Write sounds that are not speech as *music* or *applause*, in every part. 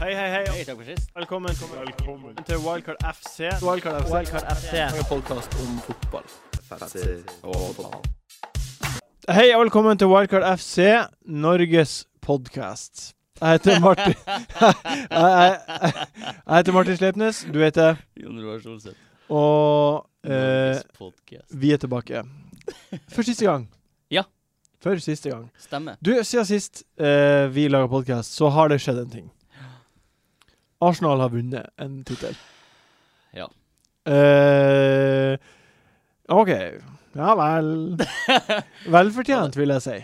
Hei, hei, hei. Hei, takk for sist. Velkommen, til Wildcard FC. Wildcard FC. Wildcard FC. En podkast om fotball. Hei og velkommen til Wildcard FC, Norges podkast. Jeg *laughs* heter Martin jeg, jeg, jeg, jeg heter Martin Sleipnes, du heter Jon Roar Solseth. Og eh, Norges podcast. vi er tilbake. For siste gang. Ja. For siste gang. Stemmer. Du, siden sist eh, vi laga podkast, så har det skjedd en ting. Arsenal har vunnet en tittel. Ja. Eh, OK. Ja *laughs* vel. Velfortjent, vil jeg si.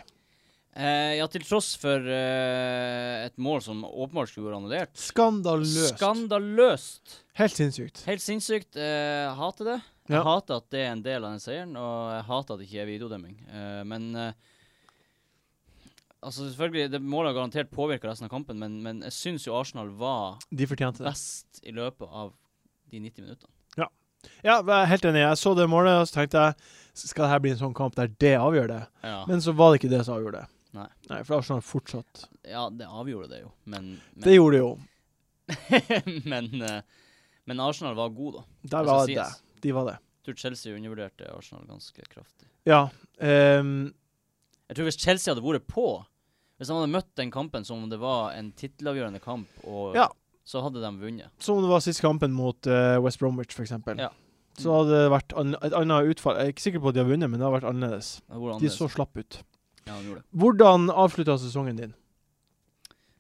Eh, ja, til tross for eh, et mål som åpenbart skulle vært annullert. Skandaløst. Skandaløst! Helt sinnssykt. Helt sinnssykt. Eh, jeg hater det. Ja. Jeg hater at det er en del av den seieren, og jeg hater at det ikke er videodømming. Eh, men eh, Altså, selvfølgelig, det målet har garantert påvirka resten av kampen, men, men jeg syns jo Arsenal var De fortjente det. best i løpet av de 90 minuttene. Ja, jeg er helt enig. Jeg så det målet, og så tenkte jeg skal det her bli en sånn kamp der det avgjør det? Ja. Men så var det ikke det som avgjorde det. Nei. For Arsenal fortsatt. ja, det avgjorde det jo, men, men Det gjorde det jo. *laughs* men, eh, men Arsenal var god, da. Der Det var skal det. sies. De var det. Jeg tror Chelsea undervurderte Arsenal ganske kraftig. Ja. ehm, Jeg tror hvis Chelsea hadde vært på, hvis de hadde møtt den kampen som om det var en tittelavgjørende kamp, og, Ja. så hadde de vunnet. Som om det var sist kampen mot eh, West Bromwich, f.eks. Ja. Så hadde det vært an et annet utfall. Jeg er ikke sikker på at de har vunnet, men det har vært annerledes. Det hadde De vært annerledes. så slapp ut. Ja, de gjorde det. Hvordan avslutta sesongen din?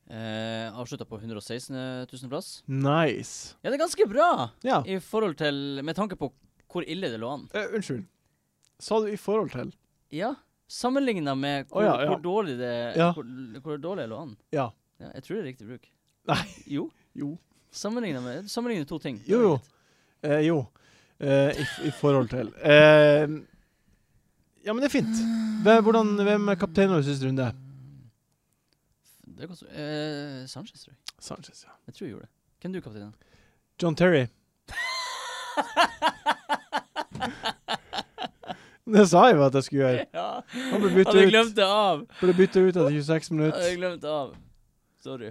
Eh, Avslutta på 116 000 plass. Nice. Ja, det er ganske bra Ja. i forhold til Med tanke på hvor ille det lå an. Eh, unnskyld. Sa du i forhold til? Ja. Sammenligna med hvor, Å, ja, ja. hvor dårlig det Ja. hvor, hvor dårlig det lå an. Ja. Ja, jeg tror det er riktig bruk. Nei. Jo. Jo. Sammenligna med Sammenligna to ting. Jo, jo. Eh, jo. Eh, i, I forhold til. Eh, ja, men det er fint. Hvem, hvordan, hvem er kapteinen vår i siste runde? Det kan, eh, Sanchez, tror jeg. Sanchez, ja. Jeg tror jeg gjorde det. Hvem er du, *laughs* kapteinen? John Terry. Det sa jeg jo at jeg skulle gjøre. ja, Han ble hadde bytta ut. glemt det av! Ble bytta ut etter 26 Hadde jeg minutter. glemt det av. Sorry.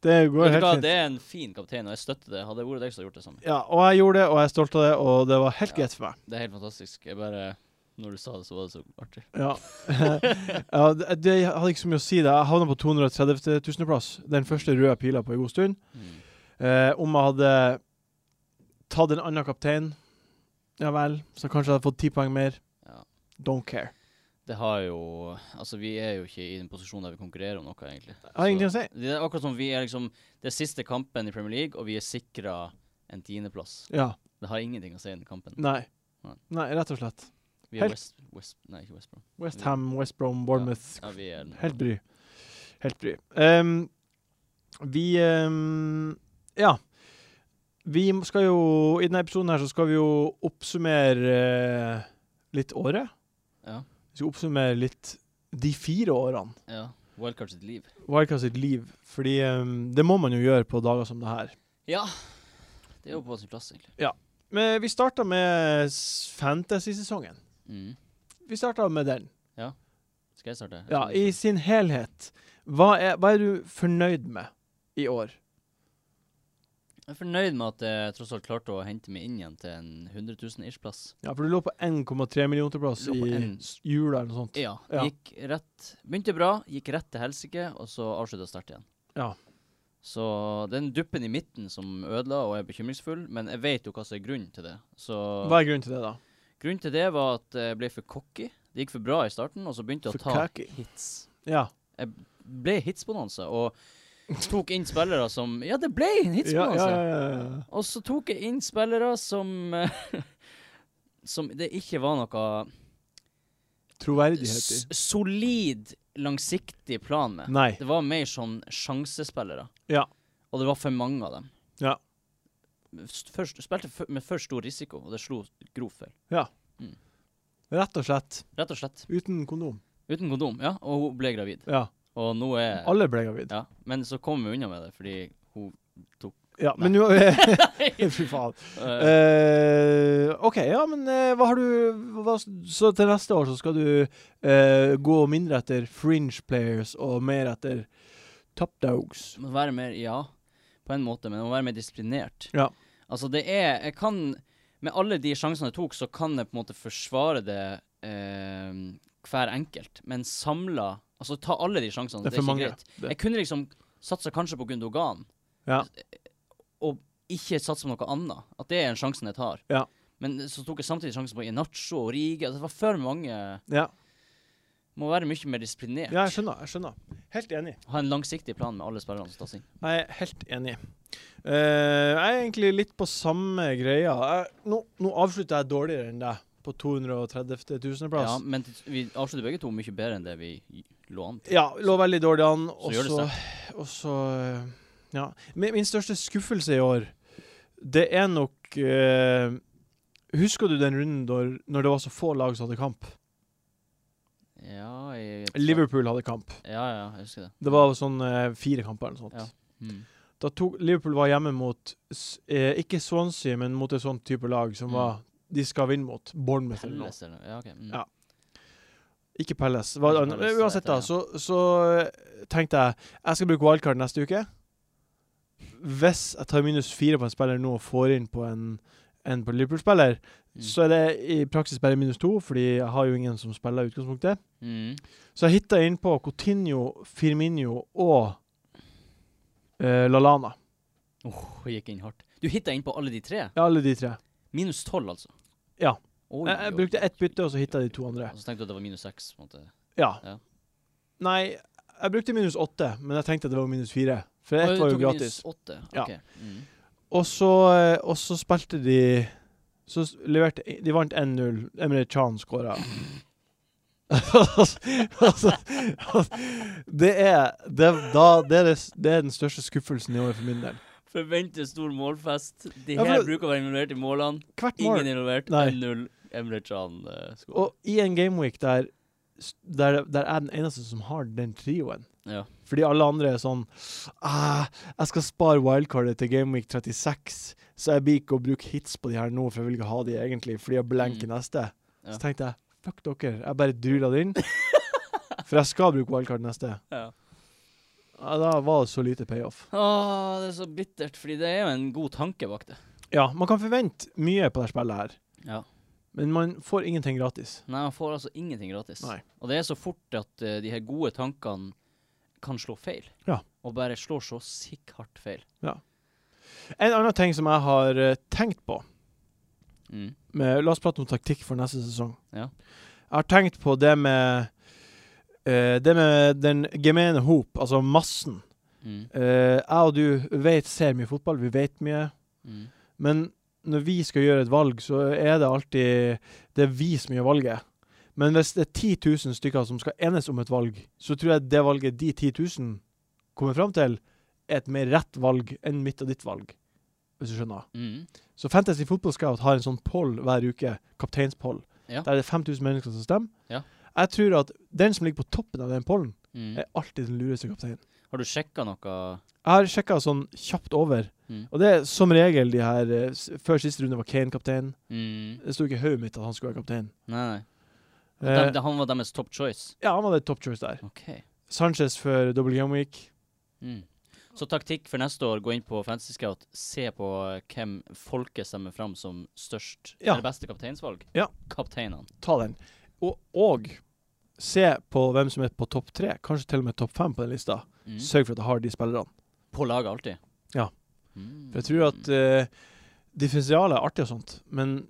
Det går Vet du hva, helt det fint. er en fin kaptein, og jeg støtter det. Hadde det vært deg, så hadde jeg gjort det samme. Ja, og jeg gjorde det, og jeg er stolt av det, og det var helt Ja. greit for meg. Det er helt fantastisk. Jeg bare Når du sa det, så var det så artig. Ja. *laughs* ja det, det jeg hadde ikke så mye å si. da. Jeg havna på 230 000.-plass. Den første røde pila på en god stund. Mm. Eh, om jeg hadde tatt en annen kaptein, ja vel, så kanskje jeg hadde fått ti poeng mer. Ja. Don't care. Det har jo Altså, vi er jo ikke i den posisjonen der vi konkurrerer om noe, egentlig. Jeg har ingenting å si. Det er akkurat som vi er liksom Det er siste kampen i Premier League, og vi er sikra en tiendeplass. Ja. Det har ingenting å si i den kampen. Nei. Nei. Nei, rett og slett. Vi er Helt- West, West Nei, ikke West Brom. West Ham, West Brom, Bournemouth, Ja, vi er Helt bry. Helt bry. Ehm, vi ehm, Ja. Vi skal jo I denne episoden her så skal vi jo oppsummere eh, litt året. Ja. Vi skal oppsummere litt de fire årene. ja. Wildcard sitt liv. Wildcard sitt liv. Fordi ehm, det må man jo gjøre på dager som det her. Ja. Det er jo på sin plass, egentlig. Men vi starta med s- fantasy-sesongen. Mm. Vi starta med den. Skal jeg starte? Jeg Ja, skjønner I ikke. sin helhet. Hva er, hva er du fornøyd med i år? Jeg er fornøyd med at jeg tross alt klarte å hente meg inn igjen til en 100 000 ish-plass. Ja, for du lå på 1,3 millioner til plass Lå på i en- s- jula eller noe sånt. Ja. Ja. Gikk rett Begynte bra, gikk rett til helsike, og så avslutta sterkt igjen. Ja. Så den duppen i midten som ødela og er bekymringsfull, men jeg vet jo hva som er grunnen til det. Så Hva er grunnen til det, da? grunnen til det var at jeg ble for cocky. Det gikk for bra i starten, og så begynte jeg For å ta cocky. hits. Ja. Ble hitsbonanza, og tok inn spillere som Ja, det ble en Ja, hitsbonanza! ja, ja, ja. Og så tok jeg inn spillere som eh, *laughs* Som det ikke var noe Troverdighet i. s solid, langsiktig plan med. Nei. Det var mer sånn sjansespillere. Ja. Og det var for mange av dem. Ja. S- Først, spilte for, med for stor risiko, og det slo grovt feil. Rett og slett. Rett og slett. Uten kondom. Uten kondom, ja. Og hun ble gravid. Ja. Og nå er Alle ble gravid. Ja. Men så kom hun unna med det, fordi hun Ja, men nå *laughs* *laughs* Fy faen. eh, Eh, OK, ja, men eh, hva har du hva, Så til neste år så skal du eh, gå mindre etter fringe players og mer etter top dogs. Må være mer Ja. på en måte, men jeg må være mer disiplinert. Ja. Altså, det er Jeg kan Med alle de sjansene jeg tok, så kan jeg på en måte forsvare det eh, hver enkelt, men samla Altså, ta alle de sjansene. Det er for ikke mange. greit. Det. Jeg kunne liksom satsa kanskje på Gundogan, Ja. og ikke satsa på noe annet. At det er en sjansen jeg tar. Ja. Men så tok jeg samtidig sjansen på Inacho og Rige. Altså, det var for mange. Ja. Må være mye mer disiplinert. ja, jeg skjønner. Jeg skjønner. Helt enig. Ha en langsiktig plan med alle spillerne som tas inn. Jeg er helt enig. Eh, jeg er egentlig litt på samme greia. Jeg, nå, nå avslutter jeg dårligere enn deg, på 230 Ja, .000-plass. men t- vi avslutter begge to mye bedre enn det vi lå an til. Ja, lå veldig dårlig an. Så gjør det Også, også Ja. Min, min største skuffelse i år, det er nok eh, Husker du den runden når, når det var så få lag som hadde kamp? Ja, jeg, Liverpool hadde kamp. Ja, ja, jeg husker det. Det var sånn eh, fire kamper eller noe sånt. Ja. Mm. Da tok, Liverpool var hjemme mot s- eh, Ikke Swansea, men mot et sånt type lag som Mm. var de skal vinne mot Bournemouth eller noe. Pelles eller noe. Ja, ok. Mm. Ja. Ikke Palace. Hva, Ikke Palace, men uansett, da, det så, så eh, tenkte jeg jeg skal bruke wildcard neste uke. Hvis jeg tar minus fire på en spiller nå og får inn på en, en på Liverpool-spiller, Mm. så er det i praksis bare minus to, fordi jeg har jo ingen som spiller i utgangspunktet. Mm. Så jeg hitta innpå Coutinho, Firminho og eh, Lalana. Åh, jeg gikk inn hardt. Du hitta inn på alle de tre? Ja, alle de tre. Minus tolv, altså? Ja. Oi, Jeg, jeg oi, brukte ett oi, bytte, og så oi, hitta oi, jeg de oi. to andre. Og så tenkte du at det var minus seks? på en måte. Ja. Ja. Nei, jeg brukte minus åtte, men jeg tenkte at det var minus fire. For Oi, ett du var jo tok gratis. Minus åtte? Ja. Ok. Mm. Og så, eh, og så spilte de Så s- leverte De vant 1-0. Emre Chan skåra. altså, *laughs* det er det, er- da, det, er det, s- det er den største skuffelsen i år for min del. Forventer stor målfest. De Ja, for- her bruker å være involvert i målene. Hvert Ingen mål. involvert. Nei. 1-0. Emre Can uh, Og i en gameweek der, s- der, der er jeg den eneste som har den trioen Ja. Fordi alle andre er sånn ah, Jeg skal spare wildcardet til gameweek 36, så jeg blir ikke å bruke hits på de her nå, for jeg vil ikke ha de egentlig, fordi jeg blenker Mm. neste. Ja. Så tenkte jeg fuck dere, jeg bare druler *laughs* det inn. For jeg skal bruke wildcard neste. Ja. Ja, da var det så lite payoff. Åh, det er så bittert, fordi det er jo en god tanke bak det. Ja, man kan forvente mye på dette spillet her, Ja. men man får ingenting gratis. Nei, man får altså ingenting gratis. Nei. Og det er så fort at eh, de her gode tankene kan slå feil. Ja. Og bare slår så sikk hardt feil. En annen ting som jeg har eh, tenkt på Mm. med, La oss prate om taktikk for neste sesong. Ja. Jeg har tenkt på det med eh, Det med den gemene hop, altså massen. Mm. Eh, jeg og du vet, ser mye fotball, vi vet mye. Mm. Men når vi skal gjøre et valg, så er det alltid Det er vi som gjør valget. Men hvis det er 10 000 stykker som skal enes om et valg, så tror jeg det valget de 10 000 kommer fram til, er et mer rett valg enn mitt og ditt valg. Hvis du skjønner. Mm. Så Fantasy Football Scout har en sånn poll hver uke, kapteinspoll. Ja. Der er det 5000 mennesker som stemmer. Ja. Jeg tror at den som ligger på toppen av den pollen, Mm. er alltid den lureste kapteinen. Har du sjekka noe Jeg har sjekka sånn kjapt over, Mm. og det er som regel de her eh, s- Før siste runde var Kane kaptein. mm. Det sto ikke i hodet mitt at han skulle være kaptein. Nei, nei. Eh, Dem- det- han var deres top choice. ja, han hadde top choice der. OK. Sanchez for double game week. Mm. Så taktikk for neste år, gå inn på Fantasy Scout, se på eh, hvem folket stemmer fram som størst Ja. eller beste kapteinsvalg. Ja. Kapteinene. Ta den. Og, og se på hvem som er på topp tre, kanskje til og med topp fem på den lista. Mm. Sørg for at jeg har de spillerne. På laget alltid. Ja. Mm. For jeg tror at uh, differensialet er artig og sånt, men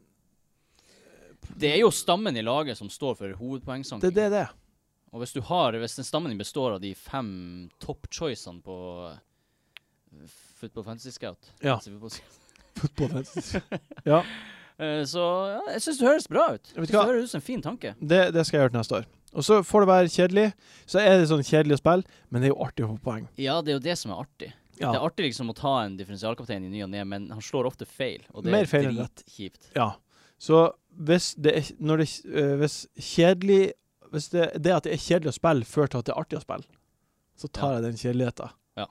Det er jo stammen i laget som står for hovedpoengsanken. det er det det er. Og hvis du har, hvis den stammen din består av de fem toppchoicene på eh, Football Fantasy Scout, Ja. så, vi får se. ja, Eh, så ja, jeg syns det høres bra ut. Vet du Jeg synes hva? det høres ut som en fin tanke. det, det skal jeg gjøre til neste år. Og så får det være kjedelig. Så er det sånn kjedelig å spille, men det er jo artig å få poeng. Ja, det er jo det som er artig. Ja. Det er artig liksom å ta en differensialkaptein i ny og ne, men han slår ofte feil, og det Mer feil er enn dritkjipt. ja. Så hvis det er når det, eh, Hvis kjedelig Hvis det, det at det er kjedelig å spille, fører til at det er artig å spille, så tar Ja. jeg den kjedeligheten. Ja.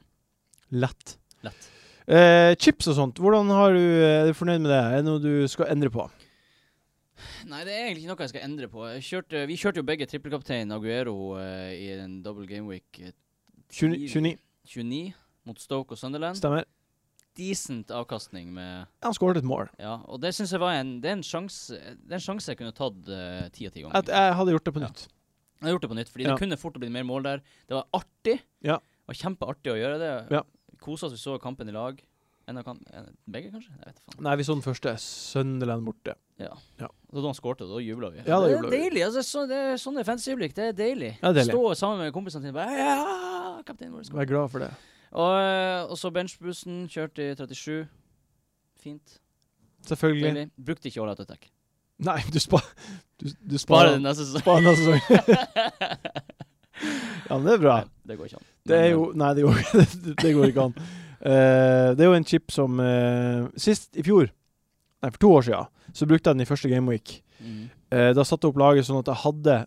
Lett. Lett. Eh, chips og sånt, hvordan har du, eh, er du fornøyd med det? Er det noe du skal endre på? Nei, det er egentlig ikke noe jeg skal endre på. Jeg kjørte, vi kjørte jo begge trippelkaptein Aguero eh, i en double game week eh, 29, 29 29 mot Stoke og Sunderland. stemmer? decent avkastning med Han skåret et mål. Ja, og det syns jeg var en Det er en sjanse, det er en sjanse jeg kunne tatt eh, ti av ti ganger. At jeg hadde gjort det på Ja. nytt. Jeg har gjort det på nytt, fordi Ja. det kunne fort ha blitt mer mål der. Det var artig. Ja. Det var kjempeartig å gjøre det. Ja. Kosa oss, vi så kampen i lag. En av kamp, en, begge, kanskje? Jeg vet da faen. Nei, vi så den første. Sunderland borte. Ja. Ja. Det var da han skårte, og da jubla vi. Ja, da det jublet er vi. deilig. Altså, så, det er sånne fancy-øyeblikk. Det er deilig. Ja, deilig. Stå sammen med kompisene sine og bare Ja, kapteinen vår skårer. Vær glad for det. Og, eh, og så benchbussen. Kjørte i 37. Fint. Selvfølgelig. Deilig. Brukte ikke all out attack. Nei, du, spa, altså. du, du Bare sparer den neste sesongen. sparer *laughs* neste sesong. ja, men det er bra. Det går ikke an. Det er Men, jo Nei, det går, det, det går ikke *laughs* an. Eh, det er jo en chip som eh, Sist i fjor, nei, for to år siden, så brukte jeg den i første Game Week. eh, mm. Eh, da satte jeg opp laget sånn at jeg hadde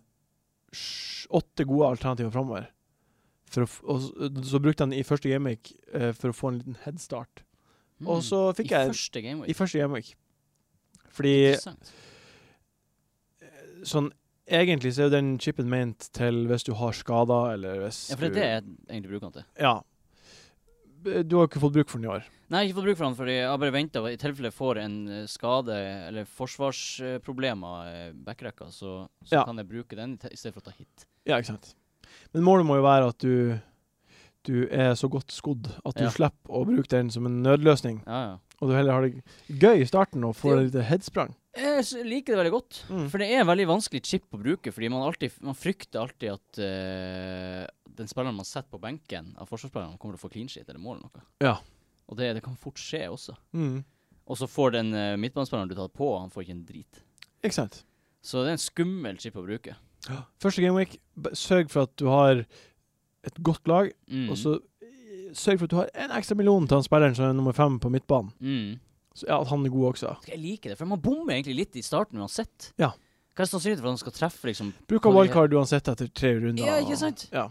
sj- åtte gode alternativer framover. For å, f- og, s- eh, så brukte jeg den i første gameweek eh, for å få en liten headstart. Og Mm. så fikk jeg I første game i week. første gameweek. Fordi Interessant. sånn Egentlig så er jo den chipen ment til hvis du har skader, eller hvis Ja, for det er det jeg egentlig bruker den til. du Ja. B- Du har ikke fått bruk for den i år. Nei, jeg har ikke fått bruk for den, fordi jeg har bare venta. I tilfelle jeg får en eh, skade eller forsvarsproblemer i backrekka, så, så Ja. kan jeg bruke den i te- i stedet for å ta hit. Ja, ikke sant. Men målet må jo være at du du er så godt skodd at du Ja. slipper å bruke den som en nødløsning, Ja, ja. og du heller har det gøy i starten og får et lite headsprang. Jeg s- liker det veldig godt, Mm. for det er en veldig vanskelig chip å bruke. Fordi man, alltid, man frykter alltid at eh, den spilleren man setter på benken av forsvarsspillerne, kommer til å få clean shit eller mål eller noe. Ja. Og det, det kan fort skje også. Mm. Og så får den eh, midtbanespilleren du tar på, han får ikke en drit. Ikke sant. Så det er en skummel chip å bruke. Første gameweek, b- sørg for at du har et godt lag, Mm. og så eh, sørg for at du har en ekstra million til han spilleren som er nummer fem på midtbanen. mm. Så, ja, at han er god også. Jeg liker det, for man bommer egentlig litt i starten uansett. Ja. Hva er sannsynligheten for at han skal treffe, liksom? Bruk av Kan vi- wildcard uansett etter tre runder. Ja, ikke sant? Ja,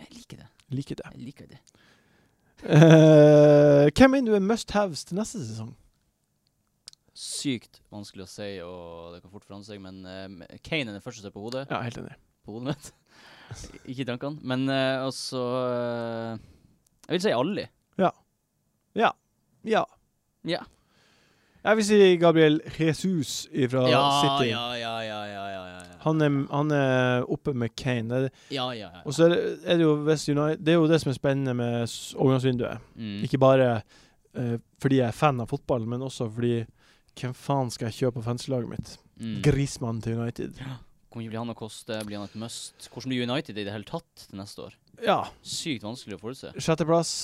Jeg liker det. liker det. Jeg liker det. Eh, hvem mener du er must haves til neste sesong? Sykt vanskelig å si, og det kan fort forandre seg, men eh, Kane er den første som er på hodet. Ja, helt enig. På hodet mitt. *laughs* Ikke i tankene. Men eh, altså eh, Jeg vil si Ali. Ja. Ja. Jeg vil si Gabriel Jesus fra City. ja, ja, ja, ja, ja, ja, ja. Han, er, han er oppe med Kane. Det er, Ja, ja, ja. og så er det, er det jo West United Det er jo det som er spennende med s- overgangsvinduet. Mm. Ikke bare eh, fordi jeg er fan av fotball, men også fordi hvem faen skal jeg kjøpe på fanslaget mitt? Mm. Grismann til United. Hvor mye blir han å koste? Blir han et must? Hvordan blir United i det hele tatt til neste år? Ja. Sykt vanskelig å forutse. Sjetteplass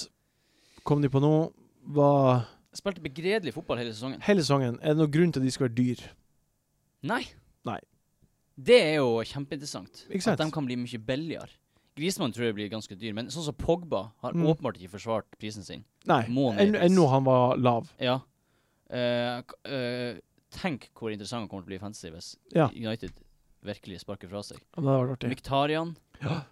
kom de på nå. Var Spilte begredelig fotball hele sesongen. hele sesongen Er det noen grunn til at de skal være dyr? Nei. Nei. Det er jo kjempeinteressant. Ikke sant? At de kan bli mye billigere. Grismann tror jeg blir ganske dyr, men sånn som Pogba har Mm. åpenbart ikke forsvart prisen sin. Nei. Må enn- nedpris. Ennå han var lav. Ja. Eh, k- eh, tenk hvor interessant han kommer til å bli i fantasy hvis Ja. United virkelig sparker fra seg. Og Det hadde vært artig. Myktarian. Ja.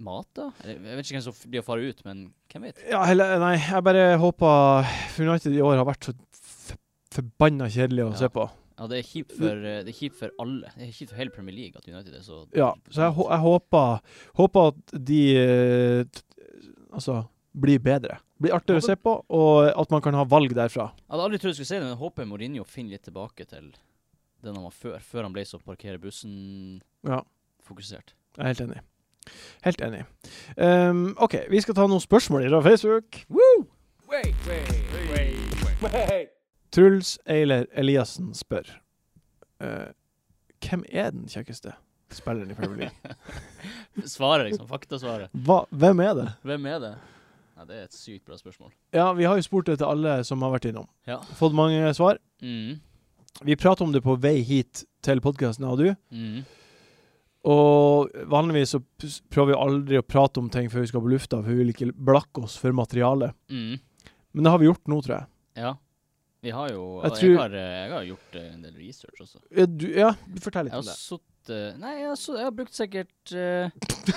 Mata? Eller, Jeg vet ikke hvem som f- blir å fare ut, men hvem vet? Ja, heller, nei, jeg bare håper For United i år har vært så f- forbanna kjedelig å Ja. se på. Ja, Det er kjipt for, eh, det er kjipt for alle. Det er kjipt for hele Premier League at United er så Ja, så jeg, hå- jeg håper, håper at de eh, t- Altså blir bedre. Blir artigere å se på, og at man kan ha valg derfra. Jeg hadde aldri trodd jeg skulle si det, men jeg håper Mourinho finner litt tilbake til den han var før. Før han ble så parkere bussen-fokusert. Ja, jeg er helt enig. Helt enig. Ehm, OK, vi skal ta noen spørsmål fra Facebook. Truls Eiler Eliassen spør eh, Hvem er den kjekkeste spilleren i Premier *laughs* League? Svaret, liksom. Faktasvaret. Hva, hvem er det? Hvem er det? Nei, det er et sykt bra spørsmål. Ja, vi har jo spurt det til alle som har vært innom. Ja. Fått mange svar. Mm. Vi prater om det på vei hit til podkasten, jeg og du. Mm. Og vanligvis så p- prøver vi aldri å prate om ting før vi skal på lufta, for vi vil ikke blakke oss for materialet. Mm. Men det har vi gjort nå, tror jeg. Ja. Vi har jo Jeg Jeg, tror- har, eh, jeg har gjort eh, en del research også. Ja, du, ja, du fortell Jeg litt har om det. sittet Nei, jeg har, sutt- jeg har brukt sikkert eh,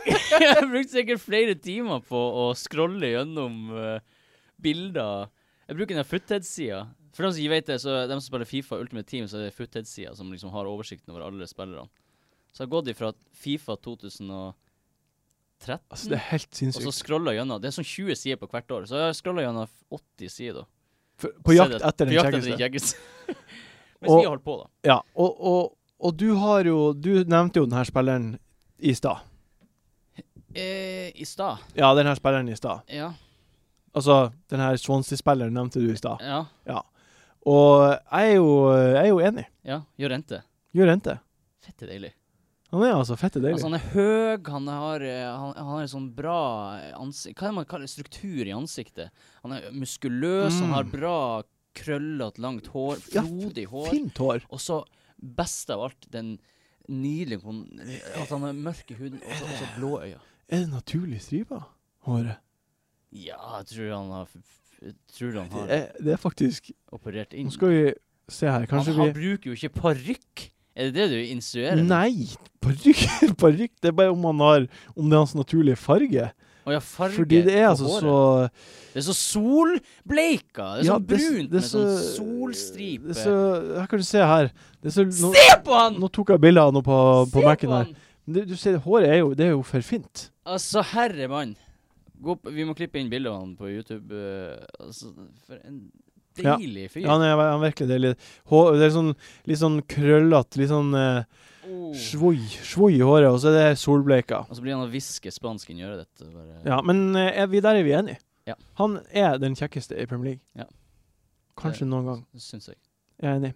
*laughs* Jeg har brukt sikkert flere timer på å scrolle gjennom eh, bilder. Jeg bruker den foothead-sida. For dem som ikke vet det, så dem som spiller Fifa Ultimate Team, så er det foothead-sida som liksom har oversikten over alle spillerne. Så jeg har gått ifra Fifa 2011 13, Altså, det er helt og så sinnssykt. scroller jeg gjennom. Det er sånn 20 sider på hvert år, så jeg scroller gjennom 80 sider. For, på jakt etter På den jakt etter den kjekkeste. kjekkeste. *laughs* Mens Og- vi har holdt på, da. Ja, og, og, og du har jo Du nevnte jo den her spilleren i stad. Eh, I stad. Ja, den her spilleren i stad. Ja. Altså, den her Swansea-spilleren nevnte du i stad. Ja. Og jeg er jo, jeg er jo enig. ja. Jorente. Gjør rente. Fette deilig. Han er altså fette deilig. Altså, han er høy, han har, eh, han, han har en sånn bra ansikt Hva er det man kaller struktur i ansiktet? Han er muskuløs, han har Mm. bra krøllete, langt hår, Ja, f- frodig hår. Fint hår. Og så, best av alt, den nydelige kon- At han har mørk i huden, og så- og så blå øyne. Er det naturlig stripa? Håret. Ja, jeg tror han har jeg Tror han Det har er, det er faktisk operert inn. Nå skal vi se her. Kanskje han, han bruker jo ikke parykk! Er det det du vi insinuerer? Nei! *laughs* Parykk! Parykk! Det er bare om han har Om det er hans naturlige farge. Og ja, farge Fordi det er på altså håret. så Det er så solbleika! Det er Ja, sånn det s- brunt det er med sånn så- solstripe. det er så, her kan du se her. Det er så, nå, Se *laughs* på han! nå tok jeg bilder av noe på, på Se Mac-en her. han! Men Du, du ser, håret er jo, det er jo for fint. Altså, herre mann. Gå opp, vi må klippe inn bilder av han på YouTube. eh, altså, for en Ja. deilig fyr. Ja, han er, han er virkelig deilig. Hår, det er sånn, litt sånn krøllete, litt sånn eh, Oh. svoi, svoi i håret, og så er det solbleika. Og så blir han å hviske spansk inn i øret ditt. og bare- Ja, men eh, er vi, der er vi enige. Ja. Han er den kjekkeste i Premier League. Ja. Kanskje noen gang. Det Syns jeg. Jeg er enig.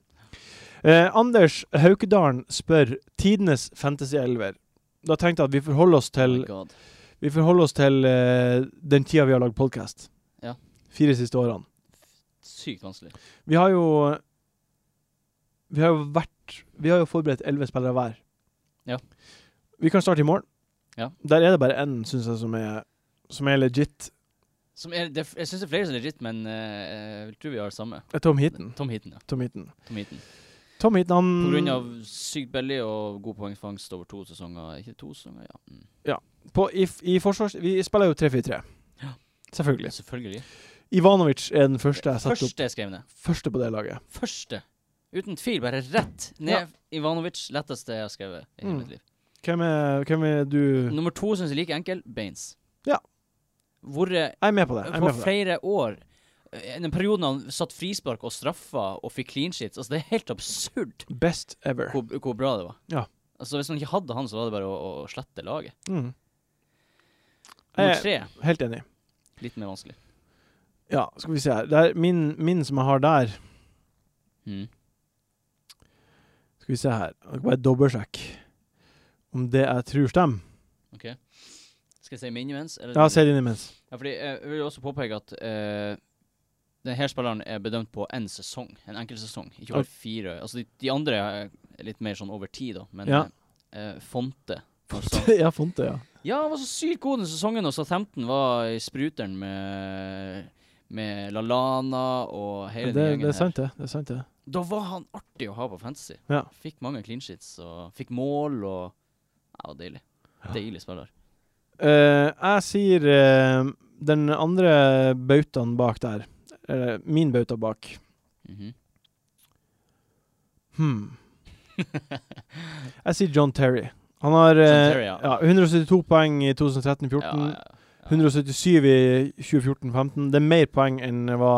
Eh, Anders Haukedalen spør tidenes fantasy-elver. Da tenkte jeg at vi forholder oss til, Oh my God. vi forholder oss til eh, den tida vi har lagd podkast. Ja. Fire siste årene. Sykt vanskelig. Vi har jo Vi har jo vært Vi har jo forberedt elleve spillere hver. Ja. Vi kan starte i morgen. Ja. Der er det bare én, syns jeg, som er, som er legit. Som er, det, jeg syns det er flere som er legit, men eh, jeg tror vi har det samme. Tom Heaton. Mm. Tom Heaton, ja. Tom Heaton. Tom Heaton. Tom Heaton, han På grunn av sykt billig og god poengfangst over to sesonger. Ikke to sesonger, ja. Mm. på, i, f- I forsvars... Vi spiller jo 3-4-3. Ja. Selvfølgelig. Selvfølgelig. Ivanovic er den første jeg setter Første jeg skrev ned. opp. Første på det laget. Første. Uten tvil, bare rett ned. Ivanovic, letteste jeg har skrevet i hele Mm. mitt liv. Hvem er, hvem er du Jeg Nummer to syns jeg er like enkel. Baines. Ja. Vært er med på det. Jeg er på med på det. flere år eh, Den perioden han satt frispark og straffa og fikk clean sheets, altså det er helt absurd Best ever. hvor, hvor bra det var. Ja. Altså Hvis man ikke hadde han, så var det bare å, å slette laget. Mm. Nummer Jeg tre, er helt enig. litt mer vanskelig. Ja, skal vi se her. Det er min, min som jeg har der Mm. Skal vi se her. Jeg skal bare dobbeltsjekke om det jeg tror stemmer. Ok Skal jeg si min imens? eller- Ja, si det inn imens. Ja, fordi eh, jeg vil jo også påpeke at eh, denne spilleren er bedømt på én sesong, en enkelt sesong, ikke over fire. Altså de, de andre er litt mer sånn over tid, da, men Ja. eh, eh, Fonte sånn. ja, Fonte, ja. Ja, han var så sykt god den sesongen, og Southampton var i spruteren med med Lalana og hele Det, den det gjengen er her. sant, det. det er sant det. Da var han artig å ha på fantasy. Ja. Fikk mange clean sheets og fikk mål og Ja, det var deilig. Ja. Deilig spiller. Eh, jeg sier eh, den andre bautaen bak der. Eller min bauta bak. Mhm. *laughs* Hmm. jeg sier John Terry. Han har eh, John Terry, ja. ja, 172 poeng i 2013-14. Ja, ja, ja. 177 i 2014-15. Det er mer poeng enn hva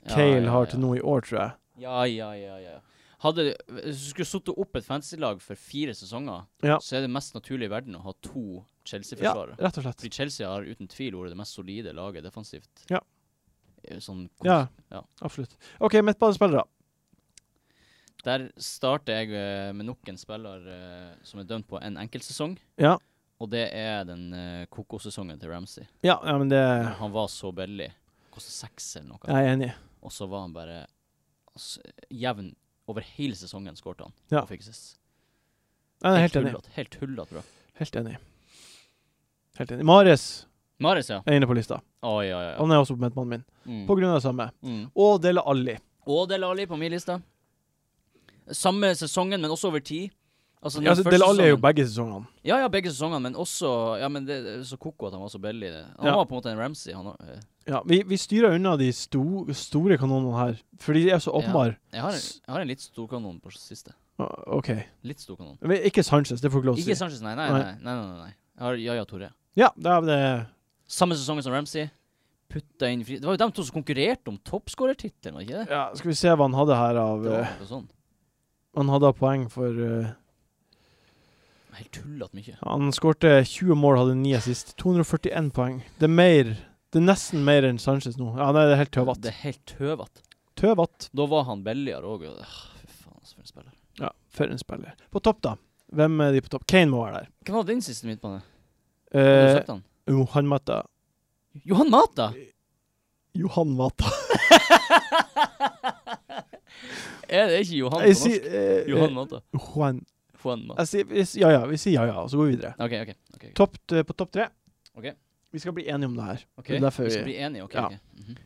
Ja, Kale ja, har ja. til nå i år, tror jeg. Ja, ja, ja, ja. Hadde, hvis du skulle satt opp et fantasy-lag for fire sesonger, Ja. så er det mest naturlige i verden å ha to Ja, Chelsea-forsvarere. rett og slett. Fordi Chelsea har uten tvil vært det mest solide laget defensivt. Ja. Eh, Sånn, Ja. Ja. Absolutt. OK, midtbanespillere. Der starter jeg eh, med nok en spiller eh, som er dømt på en enkeltsesong, Ja. og det er den eh, kokosesongen til Ramsey. ja. Ja, men det Han var så billig. Kostet seks eller noe. Jeg er enig. Og så var han bare altså, jevn over hele sesongen, skårte han. Ja. Og fikk assist. Jeg er helt enig. hullet- Helt hullet bra. Helt enig. Helt enig. Mares Marius, ja. er inne på lista. Å, ja, ja, ja. Han er også på midtbanen min. Mm. På grunn av det samme. Mm. Og Dele Alli. Og Del Alli på min liste. Samme sesongen, men også over tid. Altså, den Ja, altså, første Dele Alli er jo sesongen- begge sesongene. Ja, ja, begge sesongene, men også Ja, men det det er så koko at han var så billig. i det. Han Ja. var på en måte en Ramsey, han òg. Ja, vi, vi styrer unna de sto, store kanonene her, for de er så åpenbare. Jeg, har en- jeg har en litt storkanon på siste. Å, OK. Litt storkanon. Men ikke Sanchez, det får jeg ikke lov til Ikke å si. Sanchez, nei. Nei, Nei. nei, nei. nei, nei, nei. Jeg har Jaja Torre. Ja, da er det Samme sesongen som Ramsey. Putta inn fri... Det var jo dem to som konkurrerte om toppskårertittelen, var det ikke det? ja, Skal vi se hva han hadde her av Det eh, var noe sånn. Han hadde av poeng for eh, Helt tullete mye. Han skårte 20 mål, hadde 9 assist. 241 poeng. Det er mer Det er nesten mer enn Sanchez nå. Ja, nei, det er helt tøvete. Det er helt tøvete. Tøvete. Da var han billigere òg. Fy faen, altså, for en spiller. Ja, for en spiller. På topp, da. Hvem er de på topp? Kane må være der. Hvem var din siste midtbane? Har du Eh, sett han? Johan Mata. Johan Mata! Johan Mata. *laughs* Er det ikke Johan på Jeg norsk? sier eh, Johan Mata. eh, Juan. Juan Mata. Jeg sier, jeg sier ja ja. Vi sier ja ja, og så går vi videre. OK, OK. ok, ok. Topp, t- på topp tre. Ok. Vi skal bli enige om det her. Ok, Det er derfor Vi skal vi- bli enige, OK? Ja. ok. Mhm.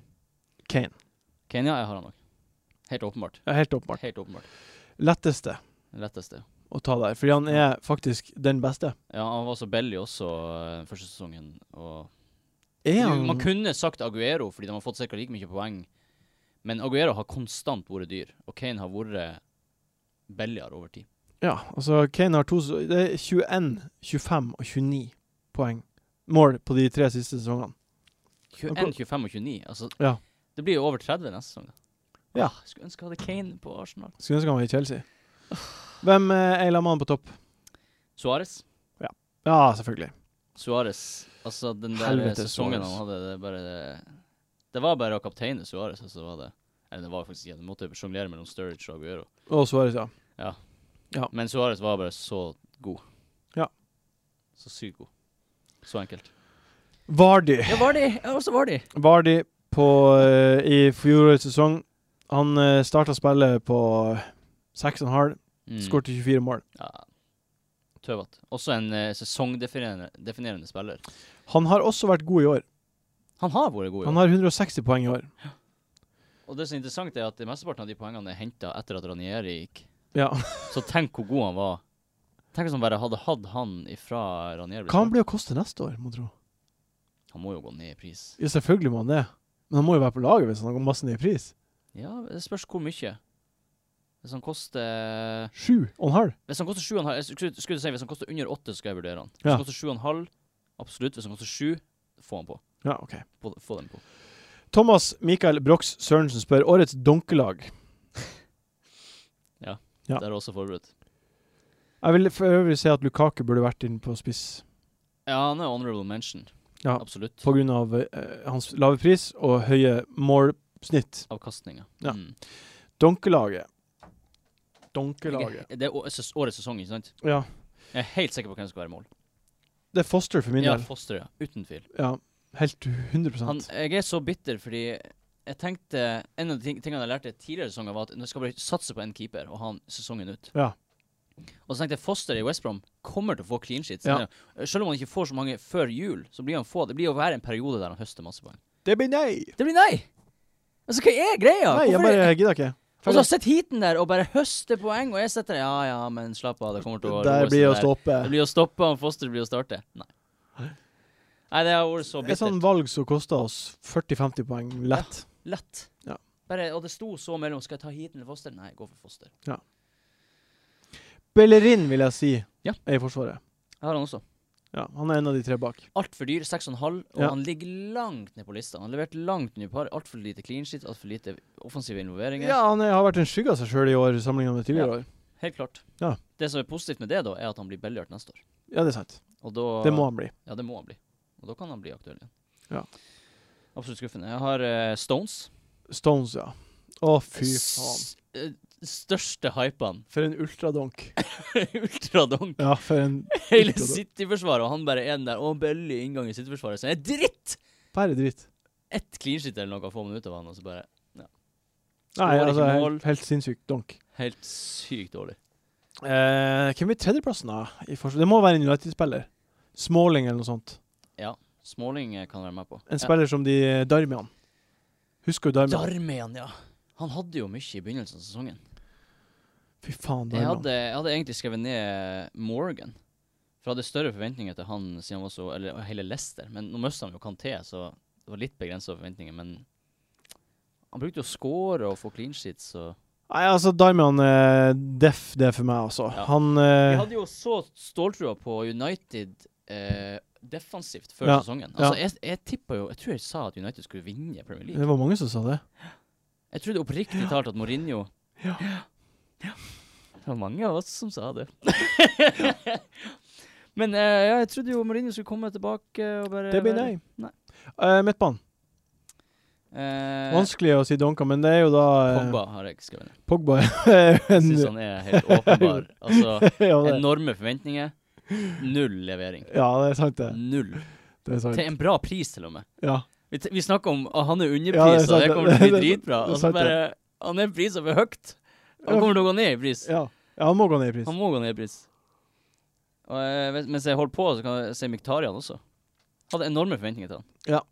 Kane. Kenya, jeg har han òg. Helt åpenbart. Ja, helt åpenbart. Helt åpenbart. Letteste Den letteste. å ta der, fordi han er faktisk den beste. Ja, han var så billig også eh, første sesongen. Og Er Du, Man han kunne sagt Aguero, fordi de har fått ca. like mye poeng. Men Aguero har konstant vært dyr, og Kane har vært billigere over tid. Ja, altså Kane har to s- Det er 21, 25 og 29 poeng. Mål på de tre siste sesongene. 21, 25 og 29. Altså, Ja. Det blir jo over 30 neste sesong. da. Ja. Ah, Skulle ønske jeg hadde Kane på Arsenal. Skulle ønske han var i Chelsea. Hvem eh, er Laman på topp? Suárez. Ja, selvfølgelig. Suárez. Altså, den der Helvete, sesongen Suarez. han hadde, det er bare det, det var bare å kapteine Suárez, og så var det Eller det var faktisk ikke det. Du måtte sjonglere mellom Sturridge og Aguero. Og Suárez, ja. Men Suárez var bare så god. Ja. Så sykt god. Så enkelt. Vardy. Ja, var de? Ja, også var de. Vardy på, eh, i fjorårets sesong Han uh, starta spillet på 6,5, Mm. skårte 24 mål. Ja. Tøvete. Også en eh, sesongdefinerende definerende spiller. Han har også vært god i år. Han har vært god, Han jo. har 160 poeng i år. Og det som er interessant, er at de mesteparten av de poengene er henta etter at Ranieri gikk. Ja. Så tenk hvor god han var. Tenk hvis han bare hadde hatt han ifra Ranieri. ble Hva han skadet. blir å koste neste år, må tro? han må jo gå ned i pris. Ja, selvfølgelig må han det. Men han må jo være på laget hvis han går masse ned i pris. Ja, det spørs hvor mye. Hvis han koster Sju og en halv. Hvis han koster sju og en halv jeg skulle, skulle si, Hvis han koster under åtte, så skal jeg vurdere han. Hvis Ja. han koster sju og en halv, absolutt. Hvis han koster sju, få han på. Ja, ok. Få, få den på. Thomas Mikael Brox Sørensen spør årets dunkelag. Ja. Der er også forberedt. Jeg vil for øvrig si at Lukaku burde vært inne på spiss. Ja, han er honorable mention. Ja. Absolutt. På grunn av eh, hans lave pris og høye målsnitt. Avkastninga. Ja. Mm. Donkelaget. Donkelaget. Det er å- ses- årets sesong, ikke sant? Ja. Jeg er helt sikker på hvem som skal være i mål. Det er Foster for min Ja, del. Foster, ja. Uten tvil. Ja. Helt 100 Han, jeg er så bitter fordi jeg tenkte En av de ting- tingene jeg lærte tidligere i sesongen, var at nå skal jeg bare satse på en keeper og ha han sesongen ut. Ja. Og så tenkte jeg Foster i West Brom kommer til å få clean sheets. Ja. Selv om han ikke får så mange før jul, så blir han få. Det blir å være en periode der han høster masse poeng. Det blir nei! Det blir nei! Altså, hva er greia? Nei, jeg Hvorfor- bare gidder ikke. Og så sitter heaten der og bare høster poeng, og jeg sitter der Ja ja, men slapp av, det kommer til å Der roe seg blir å der. stoppe. Det blir å stoppe, og Foster blir å starte. Nei. Nei, det har vært så Et bittert. sånt valg som koster oss 40-50 poeng lett. Lett. Ja. Bare, og det sto så mellom Skal jeg ta heaten eller Foster? Nei, gå for Foster. Bellerin, vil jeg si, Ja. er i Forsvaret. Jeg har han også. Ja, han er en av de tre bak. Altfor dyr, 6,5, og Ja. han ligger langt ned på lista. Han har levert langt under par. Altfor lite clean shit, altfor lite offensive involveringer. Ja, han er, har vært en skygge av seg sjøl i år sammenlignet med tidligere år. Helt klart. Ja. Det som er positivt med det, da, er at han blir billigere neste år. Ja, det er sant. Og da Det må han bli. Ja, det må han bli. Og da kan han bli aktuell igjen. Ja. Absolutt skuffende. Jeg har eh, Stones. Stones, ja. Å, fy faen. S- eh, Største *laughs* hypen. For en ultradonk. Ultradonk. Ja, for en Hele Ultradonk. City-forsvaret, og han bare er den der. Å, bøllig inngang i City-forsvaret. Så er det dritt! Bare dritt. Ett clean sheet eller noe få minutter av han, og så bare Nei, Skårer ikke altså, mål. helt, helt sinnssykt donk. Helt sykt dårlig. Eh, hvem blir tredjeplassen, da? I forsvar? det må være en United-spiller. Smalling eller noe sånt. Smalling eh, kan være med på. En spiller som de Darmian. Husker du ja. Darmian? Darmian, ja. Han hadde jo mye i begynnelsen av sesongen. Fy faen, Jeg Darmian. hadde, jeg hadde egentlig skrevet ned eh, Morgan. For jeg hadde større forventninger til han siden han var så Eller hele Leicester. Men nå mista han jo Kanté, så det var litt begrensa forventninger. Men han brukte jo å score og få clean sheets, så Nei, altså, Darmian eh, Deff, det er for meg, altså. Ja. Han Vi eh, hadde jo så ståltrua på United eh, defensivt før Ja, sesongen. ja. Altså, jeg, jeg tippa jo Jeg tror jeg sa at United skulle vinne Premier League. Det var mange som sa det. Jeg trodde oppriktig talt at Mourinho Ja. Det var mange av oss som sa *laughs* det. Men eh, ja, jeg trodde jo Mourinho skulle komme tilbake og bare Det blir være- nei. Nei. Eh, Midtbanen. Eh, Vanskelig å si Donka, men det er jo da eh, Pogba sånn. har jeg ikke skrevet *laughs* ned. *laughs* Pogba er jo Jeg en syns han er helt åpenbar. Altså, *laughs* ja, det, enorme forventninger. Null levering. ja, det er sant, det. Null. Det er sant. Til en bra pris, til og med. Ja. Vi, t- vi snakker om at han Ja, det er er underprisa, sant, det det- kommer til å *laughs* det- bli det- dritbra. det er Og så sant, bare Han er prisa for høyt. Han kommer til å gå ned i pris. ja. ja, han må gå ned i pris. Han må gå ned i pris. Og eh, vet- mens jeg holder på, så kan jeg se Miktarian også. Hadde enorme forventninger til han. Ja.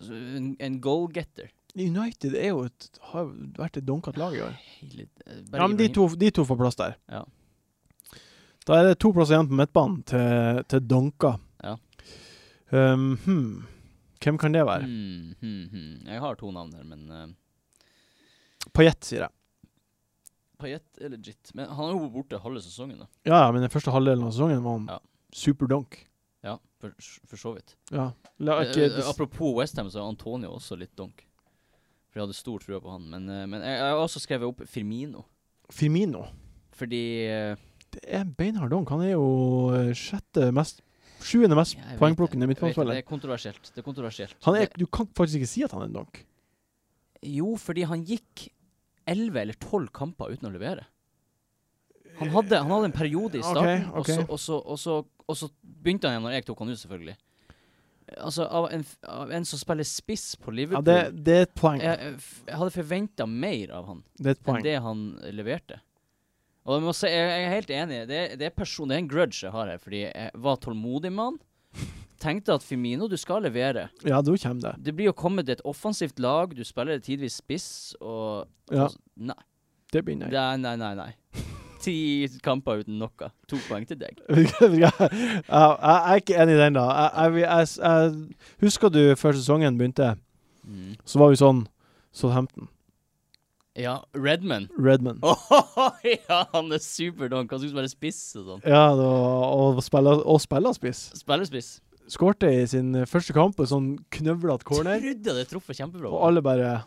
Så En, en goalgetter. United er jo et, har jo vært et dunket lag i år. Hele- eh, bare Ja, men de Ibrahim. to, de to får plass der. Ja. Da er det to plasser igjen på midtbanen til, til Donka. Ja. Um, hmm. Hvem kan det være? Hmm, hmm, hmm. Jeg har to navn her, men eh, Payet, sier jeg. Payet er legit. Men han er jo borte halve sesongen, da. Ja, ja, men den første halvdelen av sesongen var han Ja. superdonk. Ja, for, for så vidt. Ja. La, Eh, ikke, eh, Apropos Westham, så er Antonio også litt donk. For jeg hadde stor trua på han. Men, eh, men jeg, jeg har også skrevet opp Firmino. Firmino. Fordi eh, Det er en beinhard donk. Han er jo eh, sjette mest Sjuende mest jeg vet poengplukkende det, jeg vet Det midtbanespiller. det er kontroversielt. Det er kontroversielt. Han er- det, Du kan faktisk ikke si at han er en donk. jo, fordi han gikk 11 eller 12 kamper uten å levere. Han hadde, han hadde en periode i Ok, starten, ok. Og, så, og, så, og, så, og så begynte han igjen når jeg tok han ut, selvfølgelig. Altså, av en, f- av en som spiller spiss på Ja, Liverpool det, det er et poeng. jeg, jeg, f- jeg hadde forventa mer av han. Det er et enn poeng. det han leverte. Og jeg, må si, jeg, jeg er helt enig. Det, er- det, er person, det er en grudge jeg har her, fordi jeg var tålmodig med han. Tenkte at Firmino, du skal levere. Ja, da kommer det. Det blir jo kommet et offensivt lag, du spiller tidvis spiss, og Ja, altså, nei. det blir nei. nei, nei, nei, nei. *laughs* Ti kamper uten noe. To poeng til deg. Ja, *laughs* jeg, jeg er ikke enig i den, da. Jeg, jeg, vil- jeg, jeg, husker du før sesongen begynte, Mm. så var vi sånn Southampton, Ja, *laughs* Redman. Redman. ja, han er superdonk. Han skal spille spiss og sånn. Ja, det var, og spiller, og spiller spiss. Spiller spiss. Skårte i sin første kamp en sånn knøvlete corner, Trodde jeg det traff kjempebra. og alle bare